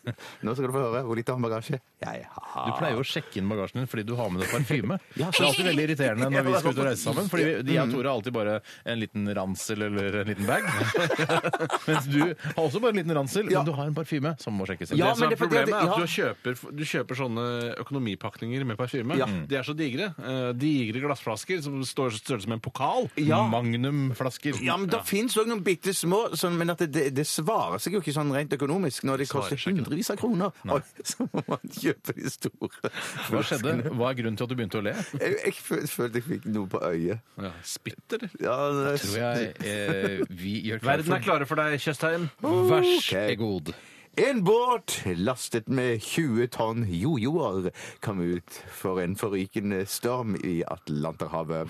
det. *laughs* Nå skal du få høre hvor lite håndbagasje jeg har.
Du pleier jo å sjekke inn bagasjen din fordi du har med deg parfyme.
*laughs* Ja, Mm.
Det er alltid veldig irriterende når vi skal ut og reise sammen, fordi vi- de og Tore har alltid bare en liten ransel eller en liten bag. *laughs* Mens du har også bare en liten ransel, men du har en parfyme som må sjekkes inn.
Ja,
det som
men
er
det er fordi at-
problemet, er at
ja.
du kjøper, du kjøper sånne økonomipakninger med parfyme. De er så digre. Eh, digre glassflasker som står i størrelse med en pokal.
Ja.
Magnumflasker.
Ja, men Det fins òg noen bitte små, sånn, men at det- det, det svarer seg jo ikke sånn rent økonomisk når det koster hundrevis av kroner. Oi, *laughs* så må man kjøpe de store.
Hva skjedde? Hva er grunnen til at du begynte å le?
Jeg, jeg føl- følte jeg fikk noe på øyet.
Ja. Spitter.
Ja, det,
Tror jeg eh, vi
*laughs*
gjør klar
Verden er
for
klare for deg, Tjøstheim.
Vær så
Ok.
god.
En båt lastet med 20 tonn jojoer kom ut for en forrykende storm i Atlanterhavet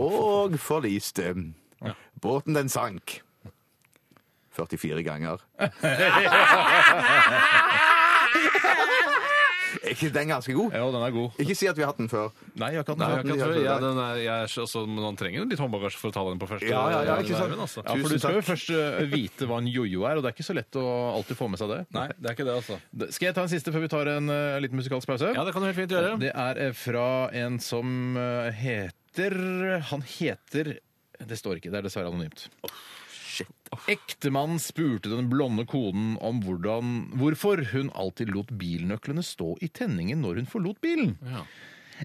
og forliste. Båten den sank 44 ganger. Er ikke den ganske god?
Ja, den er god.
Ikke si at vi har hatt den før.
Nei, jeg kan
Nei,
ikke
jeg kan-
den.
Ja,
tror
ja,
det.
den er, jeg er så- altså, men han trenger jo litt håndbagasje for å ta den på første
Ja, ja, ja, ikke sant?
verven, altså.
Ja, for Du
Tusen
skal jo
takk.
først eh, vite hva en jojo er, og det er ikke så lett å alltid få med seg det.
Nei, det er ikke det, altså.
Da- Skal jeg ta en siste før vi tar en eh, liten musikalsk pause?
Ja, det kan du helt fint gjøre.
Det er eh, fra en som eh, heter Han heter det står ikke, det er dessverre anonymt. Ektemannen spurte den blonde konen om hvordan, hvorfor hun alltid lot bilnøklene stå i tenningen når hun forlot bilen.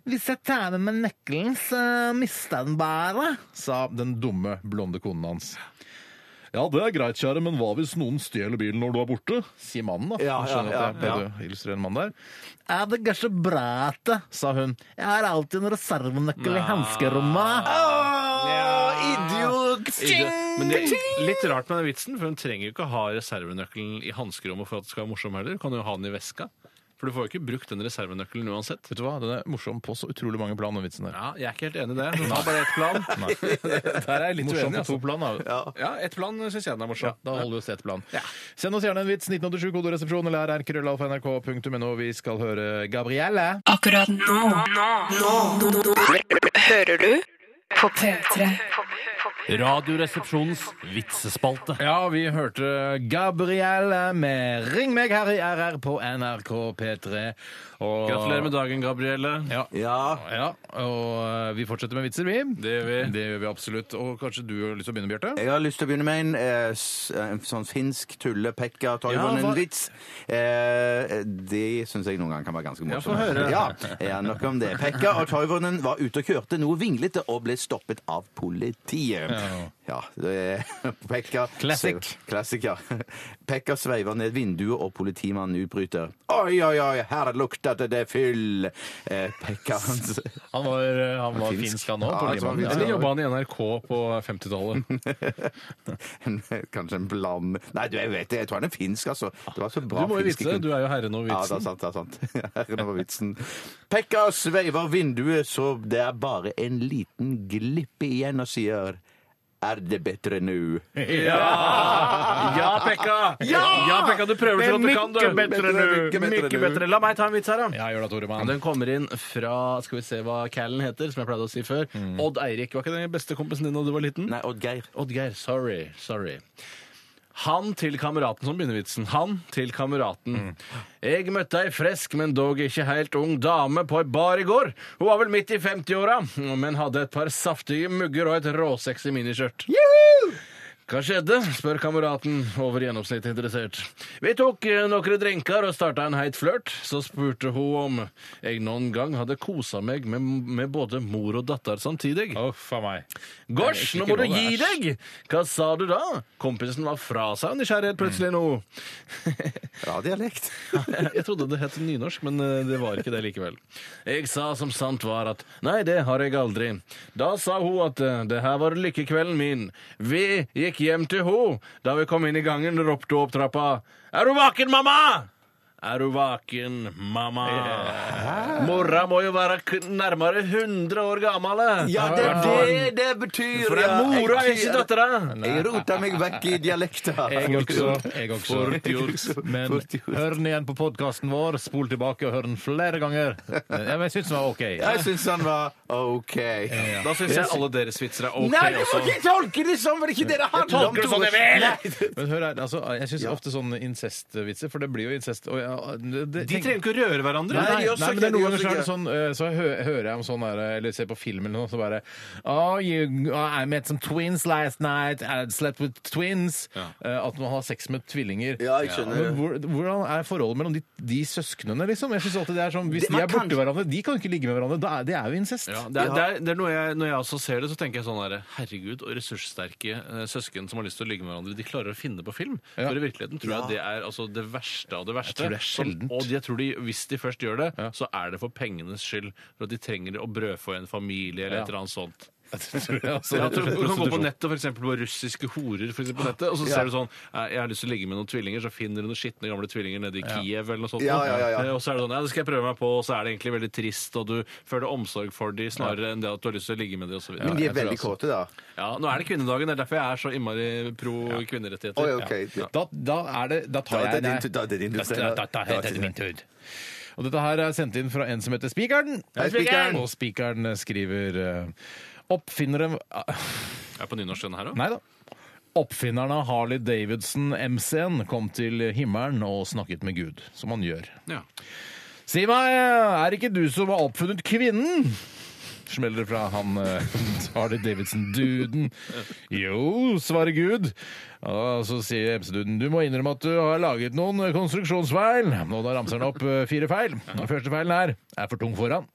Hvis jeg tar med meg nøkkelen, så mister jeg den bare, sa den dumme blonde konen hans. Ja, det er greit, kjære, men hva hvis noen stjeler bilen når du er borte? Sier mannen, da.
Ja,
Jeg skjønner
ja,
at jeg prøvde å illustrere en mann der. Er det kanskje bræte, sa hun. Jeg har alltid en reservenøkkel i hanskerommet.
Idiot!
Men det er litt rart med den vitsen, for hun trenger jo ikke ha reservenøkkelen i hanskerommet for at det skal være morsom heller. Hun kan jo ha den i veska. For du får jo ikke brukt den reservenøkkelen uansett.
Vet du hva, den er morsom på så utrolig mange plan, den vitsen der.
Ja, jeg er ikke helt enig i det. Hun har bare ett plan.
*laughs* Der er jeg litt
Morsom
uenig,
på to
altså. plan, da.
Ja, ett plan syns jeg den er morsom.
Da holder vi oss til ett plan. Send oss gjerne en vits. 1987 kodoresepsjon eller rrkrøllalfa.nrk.no. Vi skal høre Gabrielle.
Akkurat nå. Nå. Nå. Hører du på P3.
Radioresepsjonens vitsespalte.
Ja, vi hørte Gabrielle med 'Ring meg her i RR' på NRK P3. Og...
Gratulerer med dagen, Gabrielle.
Ja.
Ja.
ja. Og eh, vi fortsetter med vitser, vi.
Det gjør vi.
Det gjør vi absolutt. Og kanskje du har lyst til å begynne, Bjarte?
Jeg har lyst til å begynne med en, eh, s- en sånn finsk
Ja, hva-
tulle-pekka-toivonen-vits. Eh, det syns jeg noen ganger kan være ganske morsomt.
få høre.
Ja, ja, nok om det. Pekka og Toivonen var ute og kjørte noe vinglete og ble stoppet av politiet. Ja, det er Pekka
Classic.
Classic, ja. Pekka sveiver ned vinduet, og politimannen utbryter. Oi, oi, oi, her lukter det fyll! Eh, Pekka hans
Han var, eh, han var
Finsk.
finsk, han òg.
Ja, han var finsk.
Eller jobba han i NRK på *laughs* 50-tallet?
*laughs* en- Kanskje en bland... Nei, du, jeg vet det. Jeg tror han er finsk, altså. Det var så
Du
bra
må jo
finske
vitse.
kun-
Du er jo herren over
Ja, det er
vitsen.
sant. det er sant. Herren over vitsen. Pekka sveiver vinduet, så det er bare en liten glippe igjen, og sier Er det bedre nå?
Ja! Ja, Pekka! Ja, Pekka, Du prøver så godt du kan, du.
mykje bedre nu. Mykje bedre.
La meg ta en vits her, da.
Ja, gjør det, Tore.
Ja,
Mann.
Den kommer inn fra skal vi se hva Callen heter, som jeg pleide å si før. Odd Eirik. Var ikke den beste kompisen din da du var liten?
Nei, Oddgeir.
Oddgeir. Sorry. Sorry. Han til kameraten som begynner vitsen. Han til kameraten. Jeg møtte ei fresk, men dog ikke helt ung dame på ei bar i går. Hun var vel midt i 50-åra, men hadde et par saftige mugger og et råsexy miniskjørt. Hva skjedde? spør kameraten, over gjennomsnittet interessert. Vi tok eh, noen drinker og starta en heit flørt. Så spurte hun om jeg noen gang hadde kosa meg med, med både mor og datter samtidig.
Å, faen meg.
Gosh,
Nei,
nå må
det er ikke
du
lov,
gi
æsj.
deg! Hva sa du da? Kompisen var fra seg av nysgjerrighet plutselig nå.
Bra dialekt.
*laughs* Jeg trodde det het nynorsk, men eh, det var ikke det likevel. Jeg sa som sant var at nei, det har jeg aldri. Da sa hun at eh, det her var lykkekvelden min. Vi gikk hjem til hun. Da vi kom inn i gangen, ropte hun opp trappa. Er du vaken, mamma? Er du vaken, mamma? Mora må jo være k nærmere 100 år gammel.
Ja, det er det det betyr!
For det er mora, ikke dattera.
Jeg rota meg vekk i dialekta.
Jeg også. Jeg også.
Fort gjort.
Men
Fort gjort.
hør den igjen på podkasten vår. Spol tilbake og hør den flere ganger. Ja, men Jeg syns den var OK.
Jeg syns han var OK.
Da syns jeg alle deres vitser er OK altså.
Nei, du må
også.
ikke tolke det sånn! For det er ikke det det handler om!
tolker det sånn jeg
Tore.
vil.
Nei.
*laughs* Men hør her, altså, jeg syns ofte sånne incestvitser, for det blir jo incest og ja, det, det,
De trenger ikke å røre hverandre.
Nei, de
Nei, nei,
gjør så
men det er
ikke, de
noen
gjør så
ganger så er det sånn eh, Så hø hører jeg om sånn der, eller ser på film eller noe, så bare Oh, you, I met some twins last night. I slept with twins. Eh, At man har sex med tvillinger.
Ja, jeg skjønner det.
Men hvor, hvordan er forholdet mellom de, de søsknene, liksom? Jeg synes alltid det er sånn, Hvis
Det-
de
man
er borte
kan-
hverandre, de kan jo ikke ligge med hverandre. Da er, det er jo incest.
Ja, det er, det er, det er noe jeg, Når jeg også ser det, så tenker jeg sånn her Herregud, og ressurssterke eh, søsken som har lyst til å ligge med hverandre, de klarer å finne på film.
Ja.
For i virkeligheten tror jeg det er altså, det verste av det verste.
tror det er sjeldent.
Som- og jeg tror de, hvis de først gjør det, så er det for pengenes skyld. For at de trenger å brødfø en familie eller
Ja.
et eller annet sånt.
*laughs* Det tror jeg, altså.
Ja, du du kan gå på
Prostitusjon.
nettet for eksempel på russiske horer, for eksempel på nettet, og så ser du sånn eh, Jeg har lyst til å ligge med noen tvillinger, så finner du noen skitne gamle tvillinger nede i Kiev eller noe sånt.
Ja, ja, ja, ja.
Eh, Og så er det sånn Ja, det skal jeg prøve meg på, og så er det egentlig veldig trist, og du føler omsorg for de snarere enn det at du har lyst til å ligge med de, og så videre.
Men de er veldig kåte, da.
Ja, nå er det kvinnedagen, det er derfor jeg er så innmari pro kvinnerettigheter.
Oi, ok.
Ja.
Da, da er det Da tar
Da er
jeg
det din tur, da er det din tur,
Da-
Steinar.
Da, da, da,
Da er
da er
det
det min tur. Og dette her er sendt inn fra en som heter Spikeren.
Hei, Spikeren.
Og Spikeren skriver eh, Oppfinnere ah,
Er jeg på nynorsk den her òg?
Nei da. Oppfinneren av Harley Davidson-MC-en kom til himmelen og snakket med Gud, som han gjør.
Ja.
Si meg, eh, er det ikke du som har oppfunnet kvinnen? Smeller det fra han eh, *laughs* Harley Davidson-duden. Jo, svarer Gud. Ja, så sier MC-duden du må innrømme at du har laget noen konstruksjonsfeil. Og da ramser han opp eh, fire feil. Den første feilen er er for tung foran.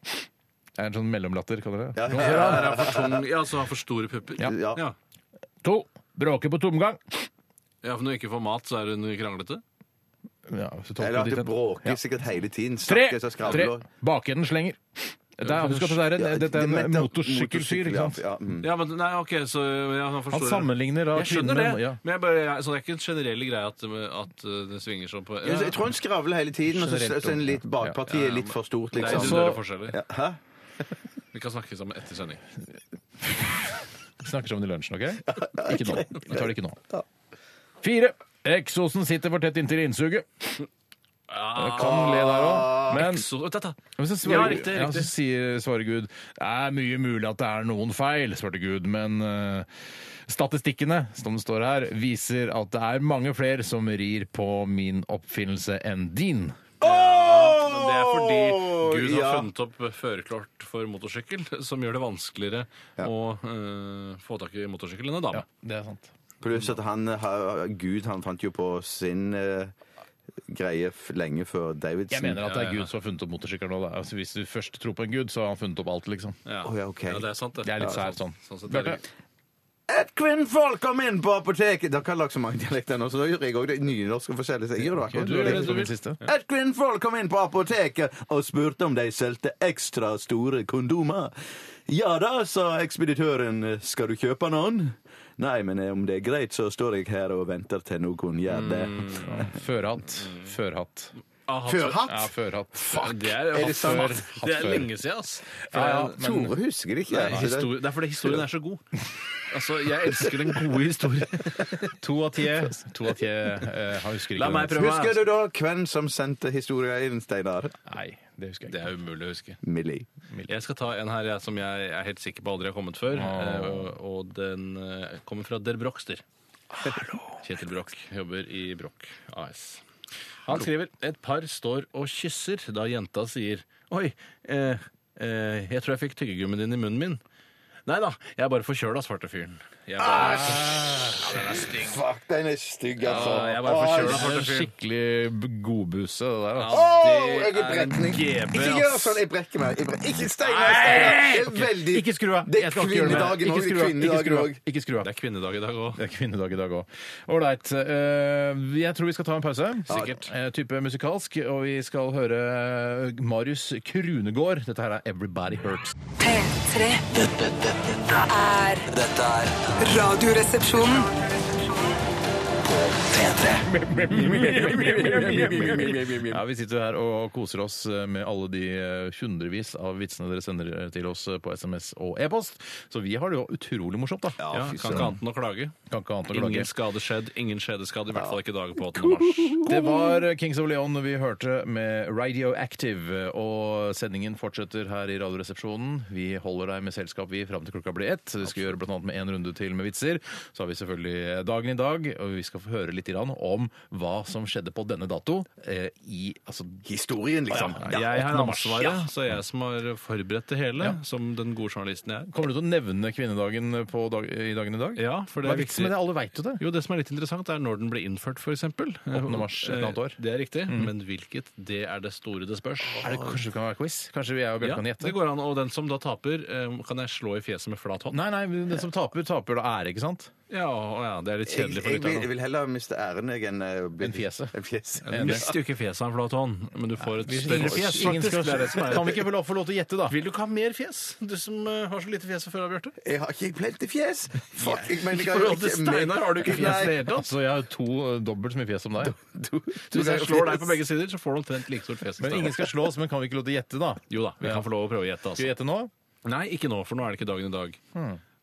Det er en sånn mellomlatter, kaller dere det. Tung
Ja,
foran.
er jeg for tung, ja, så har for store pupper.
Ja.
Ja.
Ja.
To. Bråker på tomgang.
ja, for når hun ikke får mat, så er hun kranglete.
Ja, hvis du tolker
Eller at
dit
det
hen.
bråker sikkert hele tiden.
Tre!
Snakker, så
Tre.
skravler.
Bakenden slenger. Det er, husk at det er en,
Ja,
dette
det-
er en
det-
motorsykkelfyr. ikke sant?
Ja, ja, mm.
Ja, men nei, ok, så ja, han
Han
forstår
sammenligner da
Jeg skjønner det,
kvinnen- ja.
men jeg bare, jeg, så det er ikke en generell greie at, at uh, det svinger sånn på
Jeg, jeg tror han skravler hele tiden, og så
Generelt
så er det litt
dumt, ja.
bakpartiet litt for stort,
Det er
liksom.
Altså-
individuelle forskjeller.
Ja, Hæ?
Vi kan snakke sammen etter sending.
Vi snakker sammen i lunsjen, OK? Ikke nå. Vi tar det ikke nå. Fire. Eksosen sitter for tett inntil innsuget. Jeg kan le der òg, men
Ah. Så, vent, da.
men så
Ja,
svarer,
riktig,
ja, så
riktig.
sier, svarer Gud det er mye mulig at det er noen feil, svarte Gud, men eh, statistikkene som det står her, viser at det er mange flere som rir på min oppfinnelse enn din.
Men det er fordi Gud har
Ja.
funnet opp førerkort for motorsykkel, som gjør det vanskeligere å eh, få tak i motorsykkel enn en dame.
det er sant.
Pluss at han har- Gud han fant jo på sin eh, greie f lenge før Davidson.
Jeg mener at det
Ja, ja,
er
ja.
Gud som har funnet opp motorsykkelen. og det er- Altså, hvis du først tror på en Gud, så har han funnet opp alt, liksom.
Ja.
Å, ja, ok.
det er sant, det.
Det er litt
Ja,
sært sånn.
sånn sett er det
Bjarte?
litt-
Et kvinnfolk kom inn på apoteket! Dere har lagd så mange dialekter nå, så da gjør jeg òg det nynorske forskjellig. så Jeg gjør det akkurat
Du er
det.
redd for min siste.
Et kvinnfolk kom inn på apoteket og spurte om de solgte ekstra store kondomer. Ja da, sa ekspeditøren, skal du kjøpe noen? Nei, men om det er greit, så står jeg her og venter til noen gjør det.
Mm,
Førhatt. Førhatt.
Ah, hatt-
Førhatt?
Ja, førhatt.
Fuck! Det er,
Er det
hatt
sant?
før. det er
før.
lenge siden, ass.
Ja, ja, men-
Tore husker det ikke.
Det er, histori- det er fordi historien er så *laughs* god. Altså, Jeg elsker den gode historien. *laughs*
To av ti. To av ti eh, Han husker ikke.
La
det.
meg prøve. altså.
Husker du da hvem som sendte historien inn, Steinar?
Nei, det husker jeg
Det
ikke.
er umulig å huske.
Millie.
Jeg skal ta en her jeg, som jeg er helt sikker på aldri har kommet før. eh, Og, og den eh, kommer fra Der Brokster. Kjetil Broch jobber i Broch AS. Han skriver et par står og kysser da jenta sier Oi, eh, eh, jeg tror jeg fikk tyggegummen din i munnen min. Nei da, jeg er bare forkjøla, svarte fyren. Jeg er bare,
Fuck, den er stygg, altså.
ja, jeg er bare forkjøla,
Det er
svarte
en
fyren.
skikkelig b- godbuse, det der.
Ja,
Altså.
Åh,
det
jeg er i
Ah! er en
brekning.
GB,
Ikke gjør
ass.
sånn, jeg brekker meg. Jeg brekker. Ikke Steinar! Steinar. Det er veldig-
Ikke skru av.
Det
Jeg
er
skal ikke gjøre det.
kvinnedagen
Ikke
òg.
skru av. Ikke skru
Kvinnedagen
av.
òg.
Ikke skru av. Det er kvinnedag i dag òg.
Det er kvinnedag i dag òg. Ålreit. eh, jeg tror vi skal ta en pause.
Sikkert.
Eh, type musikalsk. Og vi skal høre eh, Marius Krunegård. Dette her er 'Everybody
*laughs*
Hurts'.
P3.
Dette, dette, dette er Dette er
Radioresepsjonen.
P3
Ja, Vi sitter her og koser oss med alle de eh, hundrevis av vitsene dere sender til oss på SMS og e-post. Så vi har det jo utrolig morsomt, da.
Ja, kan ikke annet enn å klage.
Kan ikke annet å klage.
Ingen skade skjedd, ingen skjedeskade, i hvert fall ikke dagen på 8.
*laughs*
mars.
Det var Kings of Leon vi hørte med Radioactive. Og sendingen fortsetter her i Radioresepsjonen. Vi holder deg med selskap vi fram til klokka blir ett. Vi skal gjøre blant annet med en runde til med vitser. Så har vi selvfølgelig eh, dagen i dag, og vi skal få høre litt grann om hva som skjedde på denne dato eh, i altså,
Historien, liksom.
Jeg har
8. mars,
ansvaret, så jeg som har forberedt det hele, som den gode journalisten jeg er.
Kommer du til å nevne kvinnedagen på dag, i dagen i dag?
Ja, for det er
Hva er vitsen
viktig.
med det? Alle veit jo det.
Jo, Det som er litt interessant, er når den ble innført, f.eks. 8.
mars, et eller annet år. Mm.
Det er riktig, men hvilket, det er det store det spørs.
Er det kanskje det kan være quiz? Kanskje jeg og Bjørn
Ja,
kan
det
gjette?
går an. Og den som da taper, eh, kan jeg slå i fjeset med flat hånd.
Nei, nei, men den som taper, taper da ære, ikke sant?
Ja, å ja, det er litt
Jeg,
kjedelig for
jeg, vil, jeg
lytterne.
vil heller miste æren jeg, enn eh, bli-
Enn fjeset.
enn fjeset.
Du mister jo ikke fjeset av en flat hånd, men du får et større fjes,
Ingen
faktisk.
skal-
Det er det som er.
Kan vi ikke få lov- få lov til å gjette, da?
Vil du ikke ha mer fjes? Du som eh, har så lite fjes fra før av, Bjarte.
Jeg har ikke plenty fjes! Fuck, jeg mener
I forhold til Steinar har du ikke fjes i det
Nei.
hele tatt.
Altså, jeg har to eh, dobbelt så mye fjes som deg.
Hvis jeg slår deg på begge sider, så får du omtrent like stort fjes. som
Men
Steinar.
ingen skal slås, men kan vi ikke lov til å gjette, da?
Jo da, vi kan få lov å prøve å gjette.
Skal vi
Altså.
gjette nå?
Nei, ikke nå, for nå er det ikke dagen i dag.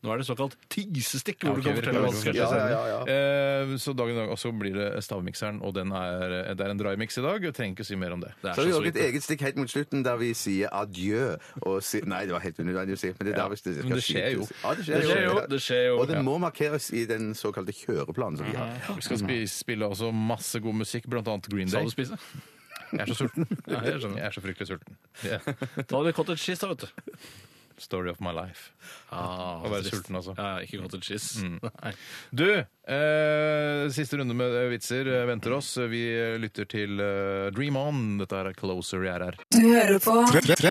Nå er det såkalt tisestikk, hvor
Ja, ok,
du kan
vi
fortelle
prøver
hva som skal
å
skje
Ja, ja,
senere.
ja, ja.
Eh, så dagen i dag, og så blir det stavmikseren, og den er, eh, det er en drymix i dag. Jeg trenger ikke si mer om det.
Det er
Så har vi
så
også
sweet.
et eget stikk helt mot slutten der vi sier adjø. Og si, nei, det var helt unødvendig å si, men det er der hvis det
men
skal
det skjer jo.
skytes. Ja, det
Det
skjer jo.
skjer jo, det skjer jo.
Og det må markeres i den såkalte kjøreplanen som vi
Mhm.
har.
Vi skal spi- spille også masse god musikk, blant annet Green
Sa
Day.
du spise?
Jeg er så sulten.
Ja, jeg skjønner.
Jeg er så fryktelig sulten. Yeah.
Da hadde vi cottage cheese, da, vet du.
Story of my life.
Ah,
Å være
trist.
sulten, altså.
Ja, ikke cottage cheese. Nei.
Du, eh, siste runde med eh, vitser eh, venter oss. Vi eh, lytter til eh, Dream On. Dette her er Closer i RR.
Du hører på
P3 P3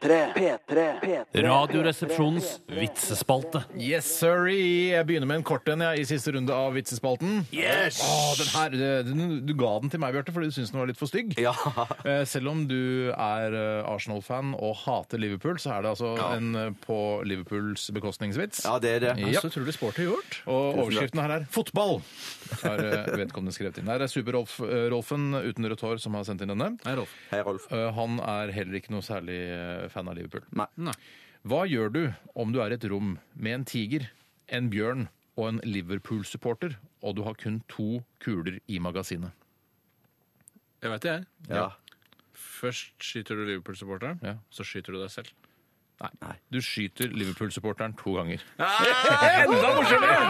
P3 P3
Radioresepsjonens vitsespalte.
Yes, sorry. Jeg begynner med en kort en jeg, i siste runde av vitsespalten.
Yes!
Å, den her, eh, den, du ga den til meg, Bjarte, fordi du syntes den var litt for stygg.
Ja.
Eh, Selv om du er eh, Arsenal-fan og hater Liverpool, så er det altså en eh, på Liverpools bekostningsvits.
ja, det er det.
Ja.
Så utrolig sporty gjort.
Og overskriften her er 'Fotball'! Har eh, vedkommende skrevet inn. Her er Super-Rolfen uten rødt hår som har sendt inn denne.
Nei, Rolf.
Hei, Rolf.
Eh, Han er heller ikke noe særlig eh, fan av Liverpool.
Nei.
Hva gjør du om du er i et rom med en tiger, en bjørn og en Liverpool-supporter, og du har kun to kuler i magasinet?
Jeg veit det, jeg.
Ja.
Først skyter du Liverpool-supporteren,
Ja.
så skyter du deg selv.
Du skyter Liverpool-supporteren to ganger.
Enda morsommere!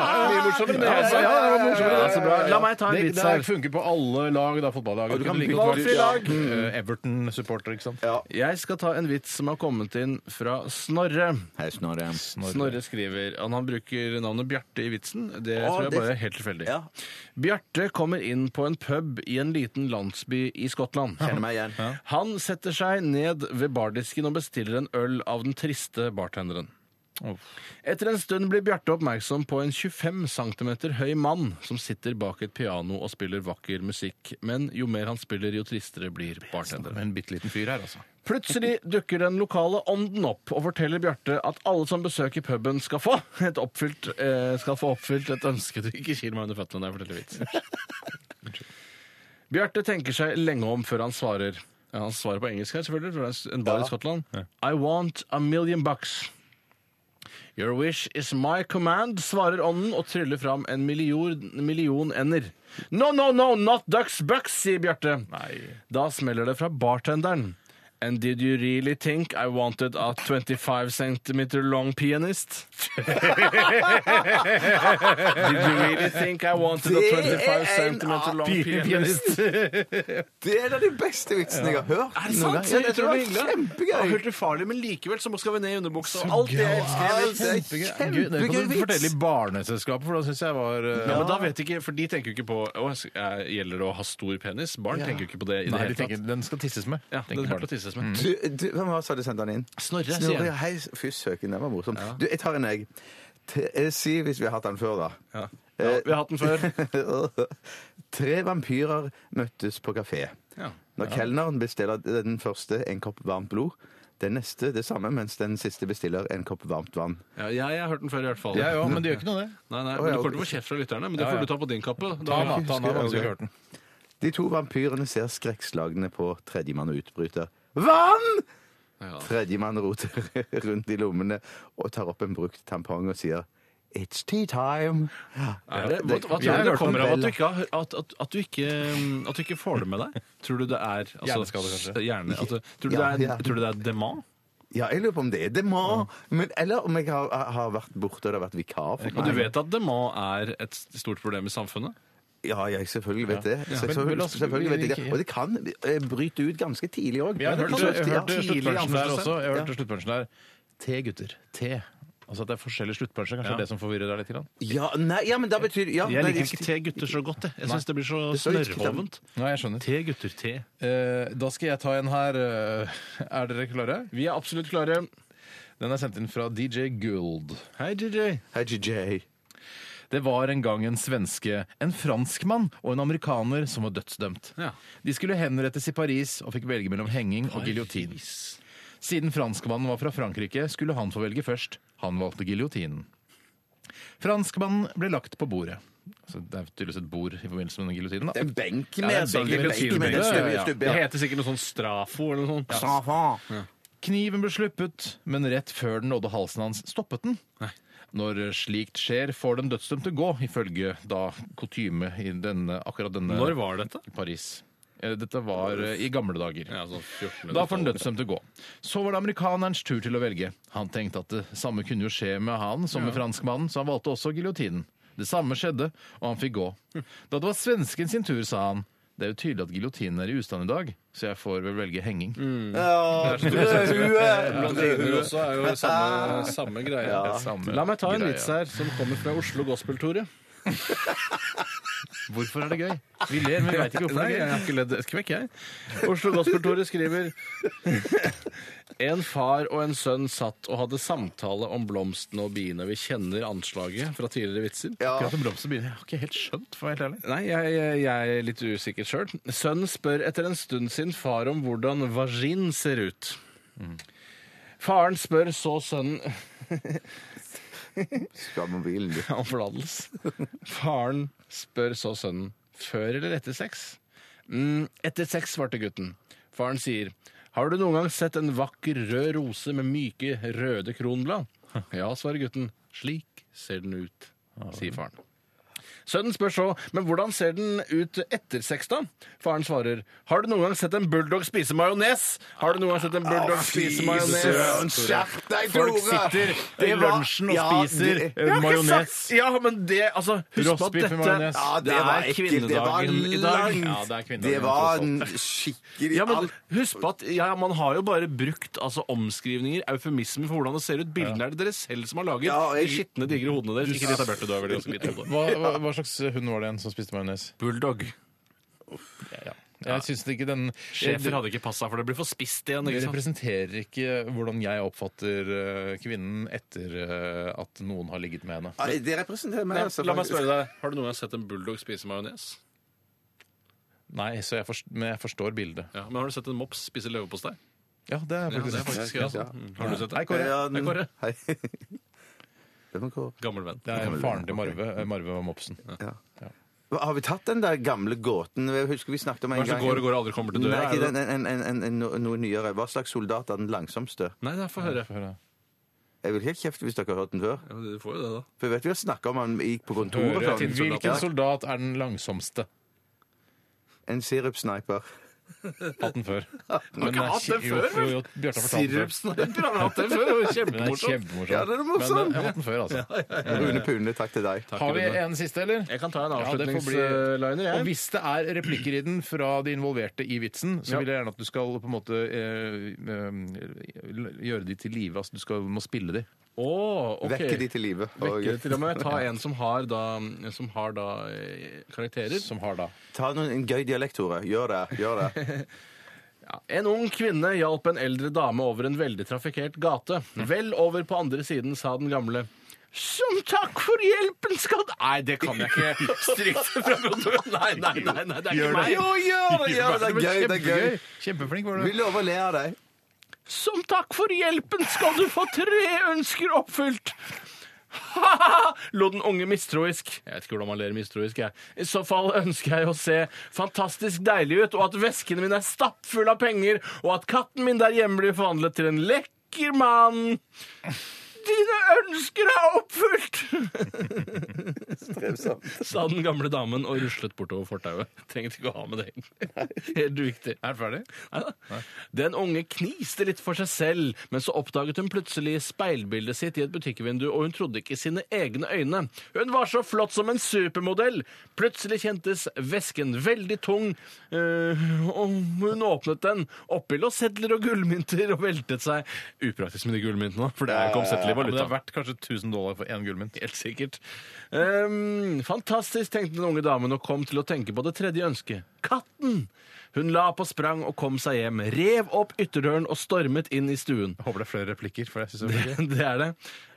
La meg ta en
altså. Det,
vits
det
her.
funker på alle lag, da, fotballag.
du kan
Kunne like
bytte
godt vært-
lag.
Ja. Eh, Everton-supporter, ikke sant?
ja.
Jeg skal ta en vits som har kommet inn fra Snorre.
Hei, Snorre.
Snorre skriver han, han bruker navnet Bjarte i vitsen. Det
Å,
tror jeg
det-
bare er helt tilfeldig.
Ja.
Bjarte kommer inn på en pub i en liten landsby i Skottland.
Kjenner meg igjen.
Han setter seg ned ved bardisken og bestiller en øl av den triste bartenderen. Etter en stund blir Bjarte oppmerksom på en 25 cm høy mann som sitter bak et piano og spiller vakker musikk, men jo mer han spiller, jo tristere blir bartenderen.
En bitte liten fyr her, altså.
Plutselig dukker den lokale ånden opp og forteller Bjarte at alle som besøker puben, skal få, et oppfylt, eh, skal få oppfylt et ønske du ikke kiler meg under føttene når jeg forteller vits. Bjarte tenker seg lenge om før han svarer. Ja, han svarer på engelsk her, selvfølgelig, for det er en bar i Skottland. I want a million bucks. Your wish is my command, svarer ånden og tryller fram en million, million ender. No, no, no, not ducks, bucks, sier Bjarte. Da smeller det fra bartenderen. And did you really think I wanted a 25 centimeter long pianist? *laughs* did you really think I wanted a
Det er
25
en
centimeter long pianist?
Det er en av de beste vitsene jeg har hørt.
Er det
noen
sant?
gang.
Så
Ja, det tror jeg
utrolig
var
hyggelig. Jeg har hørt
kjempegøy.
det farlig, men likevel så skal vi ned i underbuksa. Alt det jeg elsker.
Alt er
Kjempegøy. Gud, Det kan du fortelle i barneselskapet, for da syns jeg var eh,
Ja, men da vet ikke, for de tenker jo ikke på Å, jeg- gjelder det å ha stor penis? Barn tenker jo ikke på det i det
Nei,
hele
de tenker,
tatt.
den skal tisses med.
Ja,
tenker Mm.
den
barnet.
hørte tisses med.
Du, du, hvem var det som hadde sendt den inn?
Snorre, sier
Snorre,
jeg.
ja, hei, fy søken, den var morsom. Du, jeg tar en, jeg. T- eh, Si hvis vi har hatt den før, da.
Ja. Ja, vi har hatt den før.
*laughs* Tre vampyrer møttes på kafé.
Ja.
Når kelneren bestiller den første en kopp varmt blod, den neste det samme, mens den siste bestiller en kopp varmt vann.
Ja, jeg, jeg har hørt den før i hvert fall.
Ja, ja, men det gjør ikke noe, det.
Nei, nei,
Å,
men
ja,
Du kommer
ok.
til å få kjeft fra lytterne, men det
Ja,
får
ja.
du ta på din kappe.
Ta
Da,
den, da, ta den
Husker jeg
av, hvis
aldri.
du ikke har hørt den.
De to vampyrene ser skrekksslagne på tredjemann og utbryter. Vann!
Ja.
Tredjemann roter *laughs* rundt i lommene og tar opp en brukt tampong og sier It's tea time.
Er det, hva, hva
Jeg har
tror du det
hørt
kommer
den
av at du,
vel.
ikke, har- at, at, at, du ikke, mm, at du ikke får det med deg? Tror du det er altså,
Hjerneskade, kanskje?
Hjerne, altså, tror, du
Ja,
det
ja.
er, tror du det er demant?
Ja, jeg lurer på om det er det må. Men, eller om jeg har, har vært borte og det har vært vikar. For
Og du vet at demant er et stort problem i samfunnet?
Ja, jeg selvfølgelig vet det.
Men la
Selvfølgelig,
oss-
selvfølgelig vet jeg
vi-
det. Og det kan eh, bryte ut ganske tidlig òg.
Jeg hørte, jeg hørte sluttpunchen der også. Jeg hørte
Ja.
sluttpunchen der. Te, gutter. Te. Altså at det er forskjellige sluttpunsjer. Kanskje
Ja.
det som forvirrer deg litt? Grann.
Ja, nei, ja, men da betyr ja,
Jeg
nei,
liker ikke te gutter så godt. Jeg, jeg syns det blir så
Det står ikke
snørrhovent.
Nei, jeg skjønner.
Te gutter, te.
Eh, da skal jeg ta en her. eh, Er dere klare?
Vi er absolutt klare.
Den er sendt inn fra DJ Gould.
Hei, JJ.
Hei, JJ.
Det var en gang en svenske, en franskmann og en amerikaner som var dødsdømt.
Ja.
De skulle henrettes i Paris og fikk velge mellom henging og giljotin. Siden franskmannen var fra Frankrike, skulle han få velge først. Han valgte giljotinen. Franskmannen ble lagt på bordet. Altså, det er tydeligvis et bord i forbindelse med den giljotinen. da.
En benk
det
med
er en
sånn
benk med
en
benk.
stubbe-
Ja, ja.
stubbe,
Det
ja.
heter sikkert noe sånn strafo eller noe sånt.
Kniven ble sluppet, men rett før den nådde halsen hans, stoppet den. Når slikt skjer, får den dødsdømte gå, ifølge da kutyme i denne, akkurat denne
Når var dette?
Paris. Eh, Dette var eh, i gamle dager.
Ja, sånn 14.
Da får den dødsdømte gå. Så var det amerikanerens tur til å velge. Han tenkte at det samme kunne jo skje med han som med franskmannen, så han valgte også giljotinen. Det samme skjedde, og han fikk gå. Da det var svensken sin tur, sa han det er jo tydelig at giljotinen er i ustand i dag, så jeg får vel velge henging.
Blondiner også er jo samme, samme greie.
Det samme
La meg ta en
greia.
vits her som kommer fra Oslo Gospel-Tore.
Hvorfor er det gøy? Vi ler, men vi veit ikke hvorfor det
Nei, jeg
er gøy.
har ikke ledd et kvekk, jeg. Oslo Gospel-Tore skriver En far og en sønn satt og hadde samtale om blomstene og biene. Vi kjenner anslaget fra tidligere vitser.
Akkurat om blomster begynner. Jeg har ikke helt skjønt, for å være helt ærlig.
Nei, jeg, jeg er litt usikker sjøl. Sønnen spør etter en stund sin far om hvordan vagin ser ut.
Mm.
Faren spør så sønnen
Skal mobilen du.
*laughs* om forlatelse. Faren spør så sønnen før eller etter sex. Mm, etter sex, svarte gutten. Faren sier, har du noen gang sett en vakker rød rose med myke røde kronblad? Ja, svarer gutten. Slik ser den ut, sier faren. Sønnen spør så, men hvordan ser den ut etter sex, da? Faren svarer, har du noen gang sett en bulldog spise majones? Har du noen gang sett en bulldog spise
Søren,
majones?
skjerp deg,
Folk
Tore!
sitter i
Det var-
lunsjen og
Ja,
spiser
det-
eh, majones.
Ja, men det, altså, husk på at
Rostbiff med
dette
majones.
Ja, det,
Det er
var ekkelt. Det var
kvinnedagen i dag.
langt.
Ja, det er kvinnedagen,
det var
tross
en skikkelig
Ja, men
alt-
husk på at ja, Man har jo bare brukt altså, omskrivninger, eufemismer, for hvordan det ser ut. Bildene er det dere selv som har laget.
Ja, jeg-
De skitne, digre hodene deres. Ikke Rita Berte, du har vel ganske hvitt hode.
Hva, hva, hva slags hund var det igjen som spiste majones?
Bulldog.
Jeg syns ikke den
Schæfer hadde ikke passa, for det blir for spist igjen.
Det
ikke sant?
representerer ikke hvordan jeg oppfatter eh, kvinnen etter eh, at noen har ligget med henne.
Nei, Det representerer meg, altså.
La meg
faktisk.
spørre deg, Har du noen gang sett en bulldog spise majones?
Nei, så jeg forst men jeg forstår bildet.
Ja, men har du sett en mops spise leverpostei?
Ja, det er
Ja, det er
faktisk
faktisk gøy. Altså. Mm. Har du sett
Hei,
det?
Kåre.
Ja,
Hei, Kåre.
Hei. *laughs* Det var Kåre.
Gammel venn.
Det er faren til Marve, eh, Marve og Mopsen.
Hva, Har vi tatt den der gamle gåten? Jeg husker vi snakket om en
Hva er det som
gang
går og går og aldri kommer til
Nei,
døra?
ikke
er det
den,
det?
en, en, en, en, en, no- noe nyere. Hva slags soldat er den langsomste?
Nei, nei, få høre.
Få høre.
Jeg vil helt kjefte hvis dere har hørt den før.
Ja, du får jo det, da. *laughs*
For jeg vet vi har snakket om han gikk på kontoret.
Høre
og
til.
sånn.
Hvilken soldat er den langsomste?
En sirupsniper.
Hatt den før.
Har ikke hatt den
jo,
før,
jo,
vel?
jo, Bjarte har fortalt den før.
Sirupsnøyter har vi hatt det før. *laughs* Det var
Men det er
kjempemorsomt.
kjempemorsomt.
Ja, det er
Men, eh,
morsomt.
jeg har hatt den før, altså.
eh,
*laughs* Rune Pune, takk til deg.
Har vi en siste, eller?
Jeg kan ta en
Ja, det får bli-
avslutningsliner, jeg.
Og hvis det er replikker i den fra de involverte i vitsen, så vil jeg gjerne at du skal på en måte eh, eh, gjøre de til live. Altså, du skal, må spille de.
Å, ok.
Vekke de til live.
Vekke de
Og
til og med. Ta en som har da, som har da eh, karakterer.
Som har da.
ta noen, en gøy dialekt, Tore. Gjør det. Gjør
*laughs*
det.
Ja. En ung kvinne hjalp en eldre dame over en veldig trafikkert gate. Vel over på andre siden sa den gamle som takk for hjelpen skal du Nei, det kan jeg *laughs* ikke strikte fra protokollen. Nei, nei, nei, nei, det er ikke meg.
Jo, gjør det! Gjør det. Det er gøy. Det er gøy.
Kjempeflink var du.
Vi lover å le av deg.
Som takk for hjelpen skal du få tre ønsker oppfylt. *laughs* Ha-ha! Lo den unge mistroisk. Jeg vet ikke hvordan man ler mistroisk. jeg. I så fall ønsker jeg å se fantastisk deilig ut, og at vesken min er stappfull av penger, og at katten min der hjemme blir forvandlet til en lekker mann. Dine ønsker er oppfylt! *laughs* Sa den gamle damen og ruslet bortover fortauet. *laughs* Trengte ikke å ha med det, egentlig. Helt uviktig.
Er den ferdig?
Neida. Den unge kniste litt for seg selv, men så oppdaget hun plutselig speilbildet sitt i et butikkvindu, og hun trodde ikke sine egne øyne. Hun var så flott som en supermodell! Plutselig kjentes vesken veldig tung, eh, og hun åpnet den. Oppi lå sedler og gullmynter og veltet seg. Upraktisk med de gullmyntene, for det er ikke omsettelig
Men det
valuta.
er verdt kanskje 1000 dollar for én gullmynt.
Helt sikkert. Ehm, fantastisk, tenkte den unge damen og kom til å tenke på det tredje ønsket. Katten! Hun la på sprang og kom seg hjem, rev opp ytterdøren og stormet inn i stuen. *laughs*
Jeg håper det er flere replikker. for jeg synes det er gøy.
Det er det.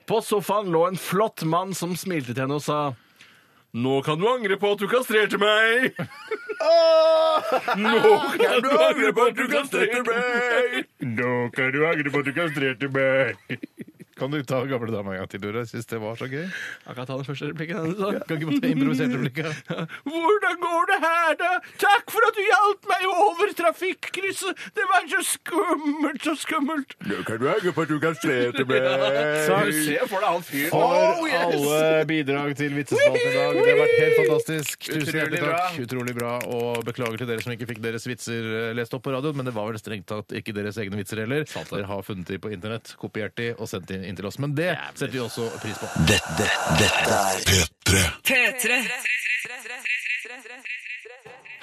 På sofaen lå en flott mann som smilte til henne og sa Nå kan du angre på at du kastrerte *laughs* meg! Nå kan du angre på at du kastrerte meg!
Nå kan du angre på at du kastrerte meg! *laughs* Kan du ta gamle dame en gang til, Dore? Jeg syns det var så gøy.
Jeg kan ta den første replikken. Sånn.
Kan ikke bare ta improvisert
*laughs*
replikk.
Hvordan går det her, da? Takk for at du hjalp meg over trafikkrysset! Det var så skummelt, så skummelt!
Nå kan du henge på at du kan strete med
Takk.
for deg han fyren.
For
Oh, yes!
alle bidrag til vitsespalten i dag. Det har vært helt fantastisk. Tusen
Utrolig
hjertelig
bra.
takk. Utrolig bra. Og beklager til dere som ikke fikk deres vitser eh, lest opp på radioen, men det var vel strengt tatt ikke deres egne vitser heller. Dere har funnet de på internett, kopiert de og sendt de inn til oss. Men det setter vi også pris på.
Dette, dette, er
P3.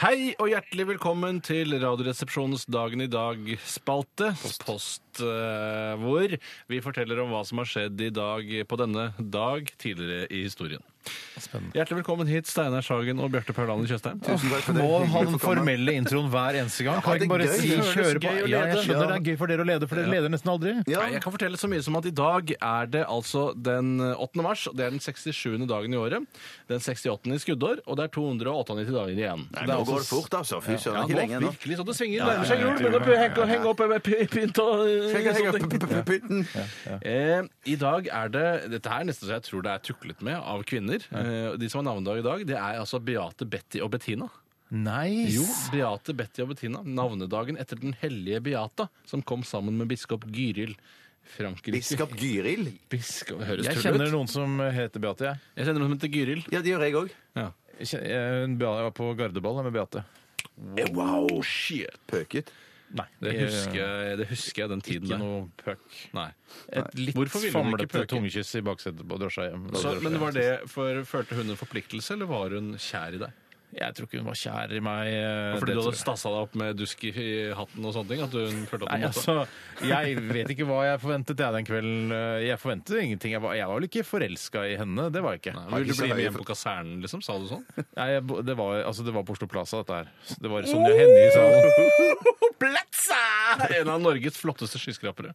Hei og hjertelig velkommen til Radioresepsjonens Dagen i dag-spalte. Post. eh, hvor vi forteller om hva som har skjedd i dag på denne dag tidligere i historien.
Spennende.
Hjertelig velkommen hit, Steinar Sagen og Bjarte Paulaner Tjøstheim.
Tusen takk for det.
Må
Hyggelig
ha den
å få komme.
formelle introen hver eneste gang? Kan
det
ikke bare
er gøy.
si
Det
føles
kjøre på?
gøy å
Ja, jeg
lede.
skjønner det er gøy for dere å lede, for dere leder nesten aldri.
Ja.
Nei, jeg kan fortelle så mye som at i dag er det altså den 8. mars. og Det er den 67. dagen i året. Den 68. i skuddår, og det er 298 dager igjen.
Nei, Nå går det fort, altså. Fy søren, ikke lenge nå.
virkelig så det svinger. Nærmer seg jul, begynner å henge- henge opp med py- pynt og eh,
Henge, henge,
sånne ting.
p- p- pytten.
Eh, I dag er det Dette her er nesten så jeg tror det er tuklet med av kvinner. Eh, og de som har navnedag i dag, det er altså Beate, Betty og Bettina.
Nice!
Jo, Beate, Betty og Bettina. Navnedagen etter den hellige Beata, som kom sammen med biskop Gyril. Frankrike.
Biskop Gyrild.
Biskop høres
Jeg
tull
kjenner
ut.
noen som heter Beate, jeg.
Jeg kjenner noen som heter Gyril.
Ja, det gjør jeg òg.
Jeg kjenner- jeg- Jeg var på gardeball med Beate.
Wow.
Shit.
Pøket.
Nei,
Det husker, jeg, det husker jeg den tiden
Ikke
der.
noe puck.
Nei.
Et litt
Hvorfor ville hun ikke pøke?
famlete tungekyss i baksetet på drosja hjem.
eh, Så, men var det for, Følte hun en forpliktelse, eller var hun kjær i deg?
Jeg tror ikke hun var kjær i meg. eh,
Fordi
det
du
tror
hadde
jeg.
stassa deg opp med dusk i hatten og sånne ting? At hun følte at
Nei,
hun måtte
altså, jeg vet ikke hva jeg forventet jeg den kvelden. Eh, Jeg forventet ingenting. Jeg var, jeg var vel ikke forelska i henne. Det var jeg ikke.
Nei,
Nei,
Vil du
ikke så
bli med
høye
hjem på kasernen, liksom? Sa du sånn?
jeg, bo- det, var, altså, det var på Oslo Plaza, dette her. Det var sånn Sonja Hennie i salen.
En av Norges flotteste skyskrapere.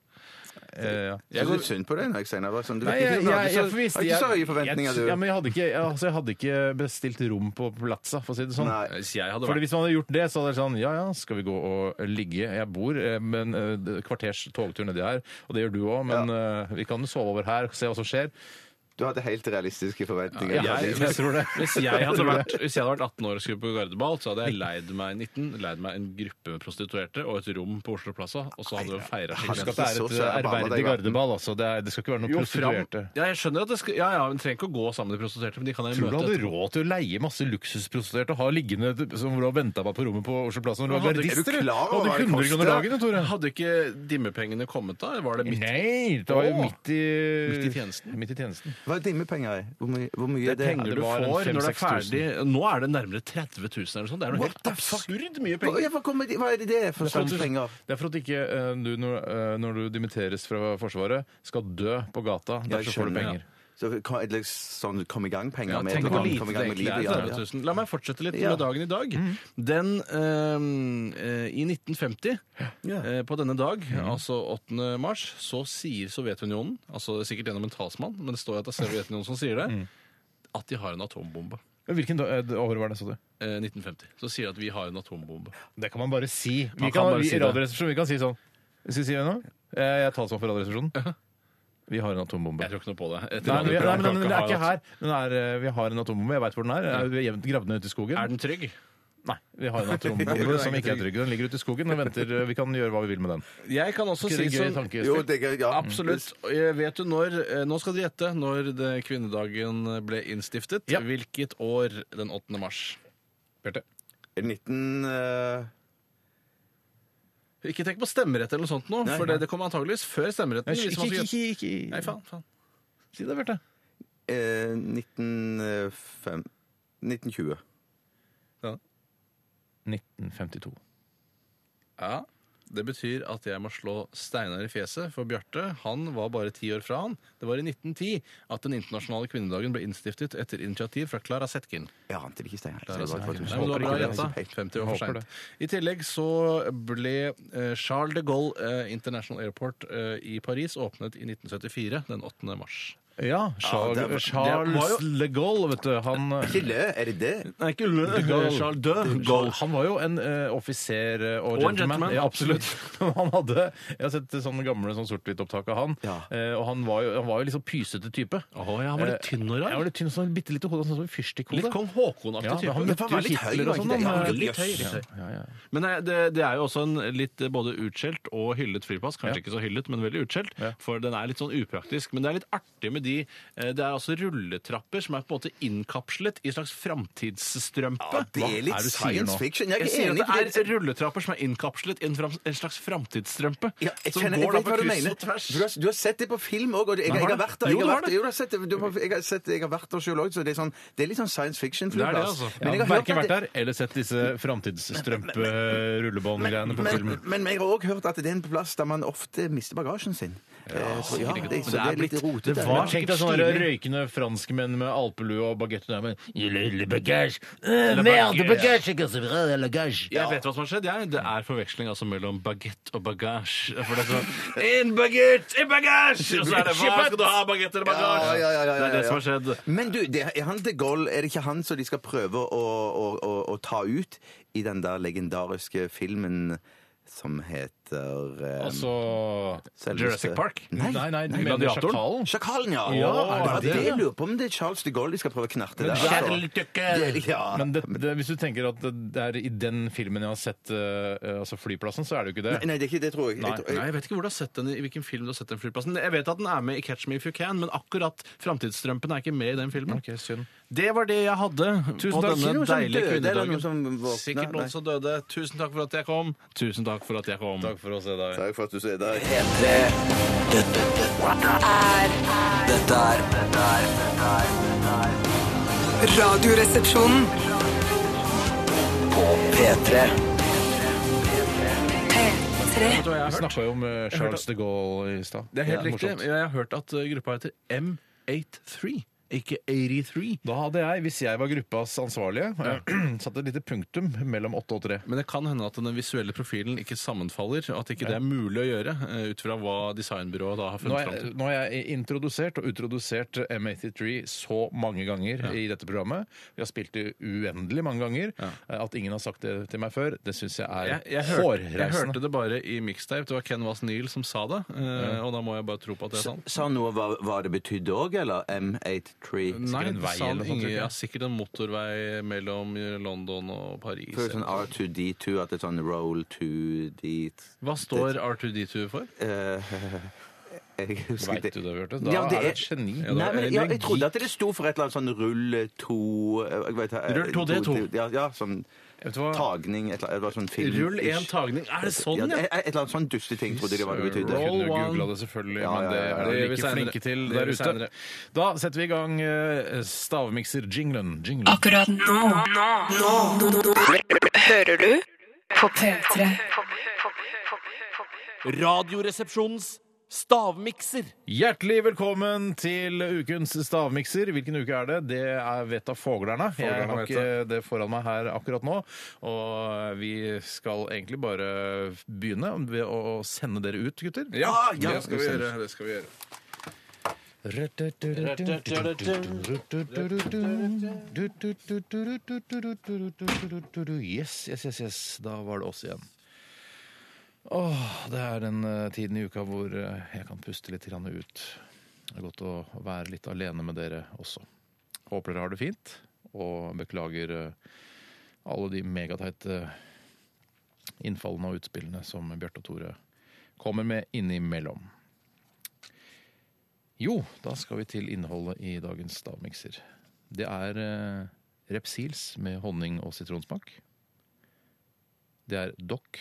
Eh, ja.
Jeg går litt synd på deg når jeg sier det. Sånn, du
Nei,
vet ikke,
jeg, jeg,
du har
jeg,
ikke så-
visste-
har ikke så
jeg-
høye forventninger,
jeg-
du.
Ja, men jeg hadde, ikke, altså, jeg hadde ikke bestilt rom på Plaza, for å si det sånn.
Nei.
Hvis jeg hadde
Fordi
vært
Hvis man hadde gjort det, så hadde det vært sånn Ja ja, skal vi gå og ligge? Jeg bor eh, men eh, det- kvarters togtur nedi her, og det gjør du òg, men eh, vi kan jo sove over her og se hva som skjer.
Du hadde helt realistiske forventninger.
Ja,
Hadde-
jeg-
jeg tror det.
Hvis jeg, hadde vært, hvis jeg hadde vært 18 år og skulle på gardeball, så hadde jeg leid meg 19, leid meg en gruppe med prostituerte og et rom på Oslo Plaza, og så hadde vi feira
Husk at
skikkelig.
det er et
Så søren, Obama,
ærverdig
det er-
gardeball, altså. Det, er, det skal ikke være noen
Jo, fram-
prostituerte.
Ja, jeg skjønner at det skal, ja, ja, men trenger ikke å gå sammen med de prostituerte, men de kan jeg
Tror du
møte.
du hadde
etterpå.
råd til å leie masse luksusprostituerte og ha liggende som hvor du har venta på på rommet på Oslo Plass når du var
Hadde-
er
gardist?
du
eller?
klar over
Hadde
hva det
100 kroner
koster?
dagen, da, Tore?
Hadde ikke dimmepengene kommet da? Var det midt
Nei, det var jo
Åh.
midt i
Midt i tjenesten.
Midt i tjenesten.
Hva er dimmepenger i? Hvor mye, hvor mye er det?
penger
penger
du
du
får
får
når
når
det
det
er
er ferdig Nå er det nærmere 30 000 eller sånn. Det er noe helt absurd mye
Hva,
penger.
ja, hva, kommer de, hva er det det er for sånne penger?
Det er for at ikke eh, du, når, eh, når du dimitteres fra Forsvaret, skal dø på gata.
Ja, jeg
Derfor
skjønner,
får du penger.
Så kom, et slags sånn kom i gang-penger?
Ja,
med-
tenk
kom-
hvor
kom i
lite det
gang med
egentlig
livet,
er.
ja, ja.
30 000. La meg fortsette litt
Ja.
med dagen i dag. Den øhm, eh, I 1950, eh, på denne dag, altså 8. mars, så sier Sovjetunionen, altså sikkert gjennom en talsmann, men det står jo at det er Sovjetunionen som sier det, at de har en atombombe.
Men Hvilken da- eh, år var det, sa du?
Eh, 1950. Så sier de at vi har en atombombe.
Det kan man bare si. Vi
Man
kan,
kan bare
vi,
si
i
det.
radioresepsjonen, vi kan si sånn Skal vi si det nå? Eh, Jeg tar sånn for Radioresepsjonen. Vi har en atombombe.
Jeg tror ikke noe på det. Et
Nei, men, vi- nei,
radioprogram
men,
kan
men,
ikke
det er
ha
ikke
en
her. Den er, eh, vi har en atombombe. Jeg veit hvor den er. er. Vi har gjemt- gravd ned ute i skogen.
atom- Er den trygg?
Nei, vi har en *laughs* atombombe som ikke er trygg. Den ligger ute i skogen og venter. eh, Vi kan gjøre hva vi vil med den.
Jeg kan også
Ikke
si
det gøy
sånn
tanke?
Jo, det er, ja.
Absolutt.
Mm.
Eh, Vet du når eh, Nå skal du gjette når det- kvinnedagen ble innstiftet.
Ja.
Hvilket år den 8. mars?
Bjarte?
19... eh,
Ikke tenk på stemmerett eller noe sånt nå, for det, det kommer antageligvis før stemmeretten.
Nei,
hvis man skal
Ikke, ikke,
gjette.
ikke, ikke.
Nei, faen, faen.
Si det, Bjarte.
eh, 1905 1920.
1952.
Ja. Det betyr at jeg må slå Steinar i fjeset, for Bjarte han var bare ti år fra han. Det var i 1910 at den internasjonale kvinnedagen ble innstiftet etter initiativ fra Klara Zetkin.
Jeg ante det ikke, Steinar.
Der, altså.
Så det var et-
Nei, men det var bra
Håper ikke det.
gjetta.
Helt-
50 år for
Håper det.
sent. I tillegg så ble eh, Charles de Gaulle eh, International Airport eh, i Paris åpnet i 1974, den 8. mars.
Ja, Charles,
det var-
Charles
det var
Le Gaulle, vet du. Han, eh,
Ikke lø, er det det?
Nei, ikke Le Charles de
Charles- han var jo en eh, offiser eh, og
Og en
gentleman.
gentleman,
ja, absolutt. *laughs* han hadde, jeg har sett sånne gamle sånn sort-hvitt-opptak av han,
Ja.
eh, og han var jo, han var jo liksom pysete type.
Å, ja, han var litt
Eh,
tynn og rar.
Ja, han var litt tynn, sånn bitte lite hode, sånn som en fyrstikkode.
Litt kong Haakon-aktig
Ja, men
type.
han møtte
han var
jo
litt høy,
Hitler
var
og
ikke
sånn.
det?
han,
Ja,
eh,
litt høy,
litt høy. Men eh, det, det er jo også en litt eh, både utskjelt og hyllet flyplass. Kanskje ikke så hyllet, men veldig utskjelt. For den er litt sånn upraktisk. Men det er litt artig med de eh, Det er altså rulletrapper som er på en måte innkapslet i en slags framtidsstrømpe.
Ja, det
Hva
er litt
du sier nå?
science fiction. Jeg
Jeg
er
sier
enig i
at det
det.
er rulletrapper som er innkapslet i en, fram, en slags framtidsstrømpe.
Ja, jeg
som
kjenner, jeg
går da
vet
på
hva du
kryss
mener.
og tvers.
Du har, du har sett det på film òg, og jeg, jeg,
har
har
det.
vært der.
Jo,
Jeg
du
har
har
vært der, jo, du har sett det. Du har- jeg har sett- jeg har vært der selv også, så det er, sånn, det er litt sånn science
Det er det,
fiction-flyplass.
altså.
Ja,
jeg har hørt
verken
at
vært
det-
der eller sett disse framtidsstrømpe-rullebåndgreiene på
Men,
filmen.
men jeg har òg hørt at det er en plass der man ofte mister bagasjen sin. Eh, så, ja, det, så det er litt rotete.
Det var Tenk deg sånne røykende franskmenn med alpelue og bagett der med Lille bagasje! Øh, Merde, bagasje! ikke så bra, det er bagasje.
Jeg vet hva som har skjedd. Jeg. Det er forveksling altså mellom baguette og bagasje.
*laughs*
For det er sånn En baguette, en bagasje! Og så er det hva skal du ha, baguette eller bagasje?
Ja, ja, ja, ja, ja,
Det er det
ja.
som har skjedd.
Men du, det er han de Gaulle, er det ikke han som de skal prøve å, å, å, å ta ut i den der legendariske filmen som heter eh,
Altså
selveste-
Jurassic Park?
Nei.
Nei, nei, du mener
Gladiatoren?
sjakalen?
Sjakalen, ja!
Ja,
Å,
er det
det
det,
det
ja?
jeg lurer på om det er Charles de Gaulle de skal prøve å knerte der.
Charles
altså. Det- Ja.
Men det, det, hvis du tenker at det det er i den filmen jeg har sett eh, altså flyplassen, så er det jo ikke det.
Nei, det er ikke det, tror jeg. jeg, tror,
Nei, jeg vet ikke hvor du har sett den i hvilken film du har sett den flyplassen. Jeg vet at den er med i Catch Me If You Can, men akkurat Framtidsstrømpen er ikke med i den filmen.
Ok, synd.
Det var det jeg hadde
Tusen
på
takk. Ikke noe
denne
som
deilige
døde, eller noe som
kvinnedagen.
våkna,
Sikkert
nei.
noen som døde. Tusen takk for at jeg kom. Tusen takk for at jeg kom.
Takk for oss, Edda.
Takk for at du ser der.
Dette
er
dette er Dette er dette er dette er
Radioresepsjonen.
På P3
P3.
Vet du hva jeg har
Vi
hørt?
snakka jo om eh, Charles de Gaulle i stad.
Det er helt
Ja,
riktig.
morsomt.
Jeg har hørt at eh, gruppa heter M83. ikke 83.
Da hadde jeg, hvis jeg var gruppas ansvarlige, *clears throat* satt et lite punktum mellom åtte og tre.
Men det kan hende at den visuelle profilen ikke sammenfaller, og at ikke det er mulig å gjøre eh, ut fra hva designbyrået da har
Nå
funnet
har
fram
jeg,
til.
nå har jeg introdusert og utrodusert M83 så mange ganger i dette programmet. Vi har spilt det uendelig mange ganger. Eh, At ingen har sagt det til meg før, det syns jeg er
Jeg, jeg, hørte, jeg hørte
hårreisende.
det bare i mixtape. Det var Ken Wass Neal som sa det. eh, Og da må jeg bare tro på at det er sant.
Sa han noe hva, hva det betydde òg, eller? M83?
Nei,
en
det
vei
sa
sånn-
han
eller noe sånt,
ingen,
tror jeg.
ja, sikkert en motorvei mellom London og Paris.
For sånn R2D2, at det er sånn roll to d
Hva står R2D2 for?
Eh, *laughs* Jeg husker
Veit
det.
du det, Bjarte? Da
Ja, det
er du
er-
et geni.
Nei, men ja, jeg trodde at det sto for et eller annet sånn rull to eh, jeg vet, eh,
Rull to, det er to.
Ja, ja sånn
Vet du hva?
tagning et eller annet, det var sånn film.
Rull én tagning. Er det sånn,
ja?
ja?
Et, et eller annet sånn dusteting trodde jeg det var det
Jeg
betydde.
kunne
Roll one.
googla det selvfølgelig,
Ja,
men
ja,
det
ja, ja.
er
Det gjør vi
dere ikke
senere.
flinke til
Det gjør
der
vi
ute.
senere.
Da setter vi i gang eh, stavmikser-jinglen. Jinglen.
Akkurat nå. Nå. Nå. Hører du på P3?
Radioresepsjonens stavmikser.
Hjertelig velkommen til ukens stavmikser. Hvilken uke er det? Det er vet av foglerne. Jeg
Foglerne
har
vet
ikke det foran meg her akkurat nå. Og vi skal egentlig bare begynne ved å sende dere ut, gutter.
Ja,
ja,
det skal vi gjøre. Det skal vi gjøre.
Yes, yes, yes, yes. Da var det oss igjen. Åh, det er den eh, tiden i uka hvor eh, jeg kan puste litt grann ut. Det er godt å være litt alene med dere også. Håper dere har det fint, og beklager eh, alle de megateite innfallene og utspillene som Bjarte og Tore kommer med innimellom. Jo, da skal vi til innholdet i dagens stavmikser. Det er eh, Repsils med honning og sitronsmak. Det er dokk,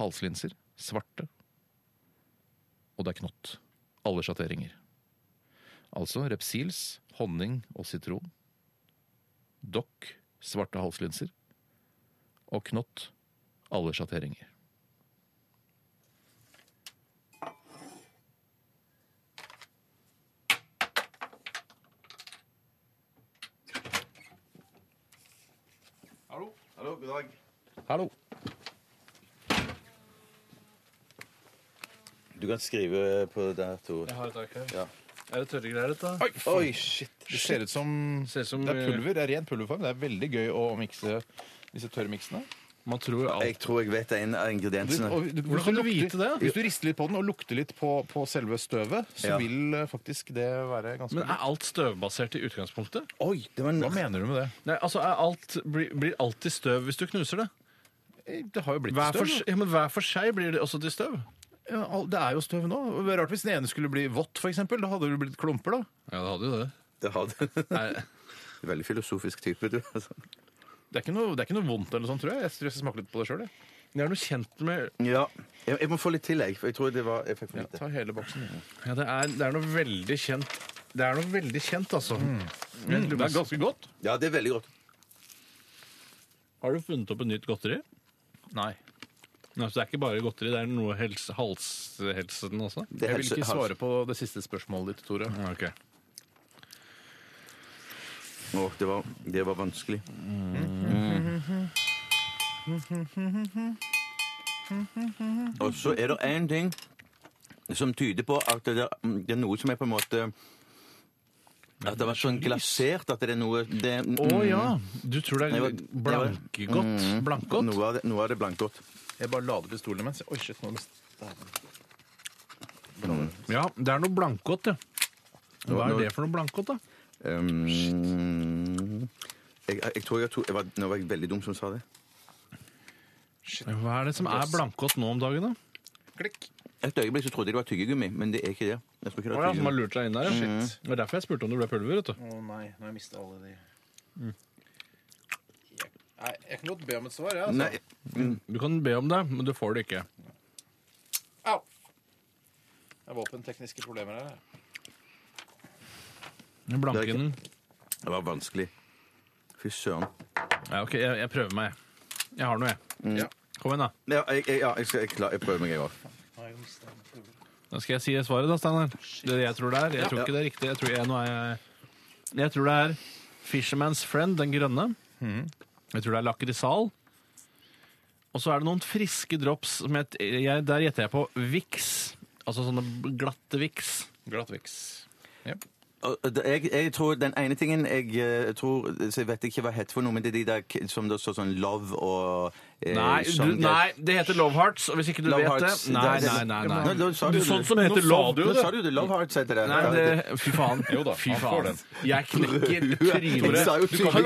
halslinser, svarte. Og det er knott. Alle sjatteringer. Altså Repsils, honning og sitron. Dokk, svarte halslinser. Og knott, alle sjatteringer.
Hallo, god dag.
Hallo.
Du kan skrive på det her, Tor.
Jeg har et arkiv.
Ja.
Er det tørre greier, dette?
Oi,
Oi, shit.
Det ser ut som
Ser ut som,
Det er pulver. Det er ren pulverform. Det er veldig gøy å mikse disse tørrmiksene.
Man tror jo alt
Jeg tror jeg vet en av ingrediensene.
Og du-
Hvordan
hvis
kan du
lukter-
vite det?
Hvis du rister litt på den og lukter litt på, på selve støvet, så
Ja.
vil eh, faktisk det være ganske
Men er alt støvbasert i utgangspunktet?
Oi, det var en...
Hva mener du med det?
Nei, altså er alt, blir, blir alltid støv hvis du knuser det?
Eh, Det har jo blitt
Hver
støv.
for,
da.
ja, men hver for seg blir det også til støv.
Ja, all- det er jo støv nå. Det er Rart hvis den ene skulle bli vått, f.eks. Da hadde det blitt klumper, da.
Ja, det hadde jo det.
Det har du. *laughs*
Nei,
Veldig filosofisk type, du. altså.
Det er ikke noe, det er ikke noe vondt eller sånn, tror jeg. Jeg tror jeg skal smake litt på det sjøl.
det er noe kjent med
Ja. Jeg, jeg må få litt til, jeg. For jeg tror det var Jeg fikk for lite.
Ta hele boksen.
Ja, det er, det er noe veldig kjent. Det er noe veldig kjent, altså.
Mm, det er ganske godt.
Ja, det er veldig godt.
Har du funnet opp et nytt godteri?
Nei.
Nei, så det er ikke bare godteri, det er noe helse, halshelsen også?
Det er
Jeg vil
helse-
ikke
helse-
svare på det siste spørsmålet ditt, Tore.
Mm, Ok.
Å, det, var, det var vanskelig.
Mm.
Og så er det én ting som tyder på at det er, det er noe som er på en måte At det var sånn glasert, at det er noe det,
Å ja! Du tror det
Nei,
er
det var- Mm.
blankegodt? Blankgodt?
Noe av det, noe av det blankgodt.
Jeg bare lader pistolen imens. Oi, shit, nå
Ja, det er noe blankgodt, ja. Hva
nå-
er det for noe blankgodt, da?
Um, Ehm, jeg, jeg tror jeg, to, jeg var, Nå var jeg veldig dum som sa det.
Hva er det som er blankgodt nå om dagen, da?
Et øyeblikk så trodde jeg det var tyggegummi, men det er ikke det. Jeg tror ikke det
Hva
var
er det som har
tyggegummi.
lurt deg inn der? ja? Det er derfor jeg spurte om det ble pulver. vet du.
Å nei, nå har jeg mista alle de Nei, Jeg kan godt be om et svar, jeg. altså.
Nei,
Du kan be om det, men du får det ikke.
Au! Det er våpentekniske problemer her.
Det er
Blanken
det var vanskelig. Fy søren.
ja, OK, jeg, jeg prøver meg. Jeg har noe, jeg.
Ja.
Kom igjen, da.
Ja, jeg, jeg, ja, jeg, skal, jeg, klar, jeg prøver meg, jeg òg.
Da skal jeg si svaret, da, Steinar. Det er det jeg tror det er. Jeg tror ikke det er riktig. Jeg tror jeg, nå er jeg Jeg tror det er Fisherman's Friend, den grønne.
Mhm.
Jeg tror det er lakrisal. Og så er det noen friske drops som jeg, jeg, Der gjetter jeg på Vix. Altså sånne glatte Vix.
Glattviks.
Og- og det- Jeg, jeg tror Den ene tingen jeg eh, tror Så jeg vet ikke hva het for noe, men det er de der k- som det står sånn love og eh,
Nei, du,
sånn-
nei, det heter Love Hearts, og hvis ikke du
Love
vet
Hearts.
det Nei, nei, nei. nei.
Nå- nå sa
Du,
du
sånn
det.
som heter
Nå sa
Love
du
Nå sa du det. Love Hearts heter det.
Nei,
Ja,
det, *laughs* fy faen.
Jo da,
fy
han får
faen.
den.
Jeg knekker
Jeg sa
trynet.
jo
Du kan
tydelig-
ikke sitte og si
Han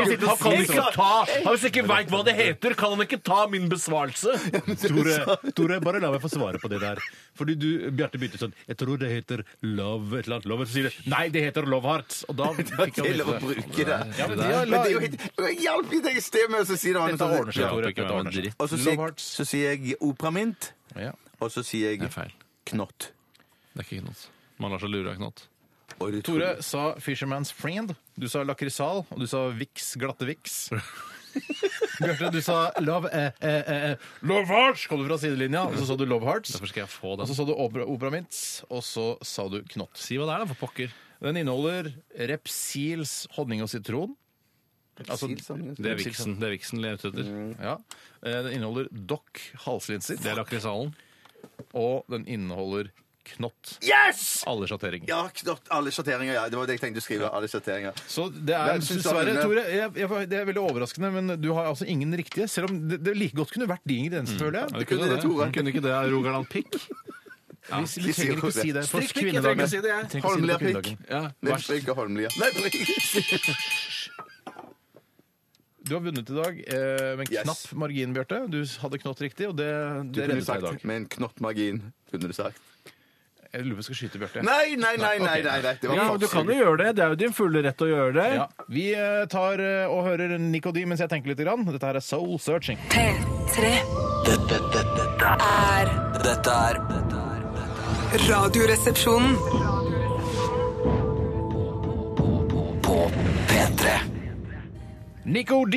ikke ta, han hvis ikke veit hva det heter, kan han ikke ta min besvarelse!
*laughs*
Tore, Tore, bare la meg få svare på det der. Fordi du, Bjarte, begynte sånn Jeg tror det heter love et eller annet. Love, så sier du nei, det heter love hearts. Og
*laughs*
da fikk jeg
til
vite
å
det.
bruke det.
Ja,
Men
men det er-
det er jo helt Jeg hjalp jo deg i sted med å si det.
Dette ordner seg, Tore.
ikke
Dette
meg,
ordner seg.
dritt.
Og så
Love
sier, jeg-
Hearts.
så sier jeg operamint,
Ja.
og så sier
Det
jeg
er feil.
knott.
Det er ikke knott. Man lar seg lure av knott.
Og du tror-
Tore sa Fisherman's Friend, du sa Lakrisal, og du sa Vix,
*laughs*
glatte Vix. Bjarte, du sa Love eh, eh, eh, Love Hearts kom du fra sidelinja, og så sa du Love Hearts.
Derfor skal jeg få
Og
den.
så sa du opera, Operamints, og så sa du Knott.
Si hva det er, da, for pokker.
Den inneholder Repsils honning og sitron. Altså,
Det er Vixen. Det er Vixen jeg er ute etter.
ja. Eh, Den inneholder Dock halslinser,
Det er lakrisalen.
og den inneholder Knott.
Yes!
Alle sjatteringer.
Ja, knott. Alle sjatteringer. Ja, det var det jeg tenkte å skrive. Alle sjatteringer.
Så det er
Hvem synes du har
dessverre,
vunnet?
Tore, jeg, jeg, det er veldig overraskende, men du har altså ingen riktige. Selv om det, det like godt kunne vært de ingrediensene, føler jeg.
Mm. Det kunne det, Tore.
Kunne ikke det Rogaland Pikk?
Vi, vi trenger ikke å si det for
Strikk pikk, jeg trenger ikke å si det, jeg.
Vi trenger ikke å si det på
Holmlia pikk.
kvinnedagen.
Ja,
Nei,
verst.
ikke Holmlia. Nei, ikke.
Du har vunnet i dag eh, med en
Yes.
knapp margin, Bjarte. Du hadde knott riktig, og det, det
Kunne du
reddet deg i dag.
sagt med en knottmargin? Kunne du sagt.
Jeg lurer på om jeg skal skyte Bjarte.
Nei, nei, nei, nei, nei, nei. Det var
Ja,
for-
du kan jo gjøre det. Det er jo din fulle rett å gjøre det.
Ja. Vi eh, tar eh, og hører Nico D mens jeg tenker litt. Grann. Dette her er Soul Searching.
P3.
Dette, dette, dette er Dette er dette er-
Radioresepsjonen.
På P3
Nico D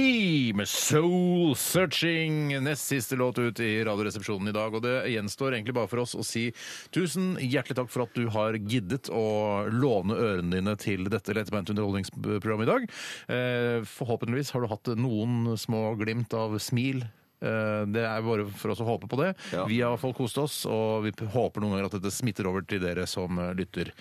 med Soul Searching. Nest siste låt ut i Radioresepsjonen i dag. Og det gjenstår egentlig bare for oss å si tusen hjertelig takk for at du har giddet å låne ørene dine til dette lettbeinte underholdningsprogrammet i dag. Eh, Forhåpentligvis har du hatt noen små glimt av smil. Eh, Det er bare for oss å håpe på det. Vi har i hvert fall kost oss, og vi p- håper noen ganger at dette smitter over til dere som eh, lytter.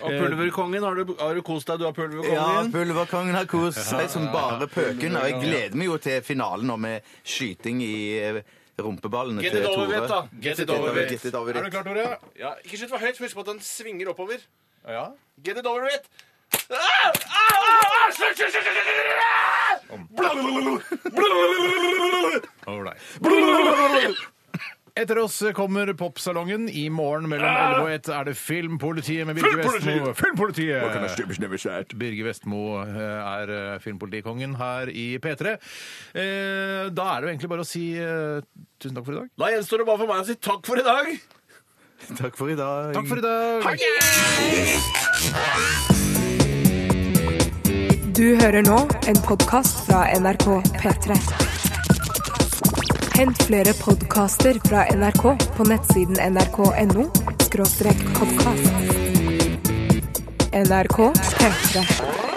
Og Pulverkongen, har du, har du kost deg? Du har
Ja,
Pulverkongen?
Pulverkongen har kost seg som bare pøken. Og jeg gleder meg jo til finalen nå med skyting i eh, rumpeballene
Get
til
it
Tore.
over with, da. Get it over with.
Get it over with.
klar, Tore?
Ja, ikke skyt for høyt, husk på at den svinger oppover.
Ja.
Get it over with! Ah! Ah! Ah! Ah! Slutt, slutt, slutt, slutt, slutt, slutt!
*laughs* Etter oss kommer Popsalongen. I morgen mellom 11 og 1 er det Filmpolitiet med Birger Vestmo. Filmpolitiet! Birger Vestmo eh, er eh, filmpolitikongen her i P3. Eh, Da er det jo egentlig bare å si eh, tusen takk for i dag.
Da gjenstår det bare for meg å si takk for i dag.
Takk for i dag.
Takk for i dag!
Du hører nå en podkast fra NRK P3. Hent flere podkaster fra NRK på nettsiden nrk.no podkast. NRK P3.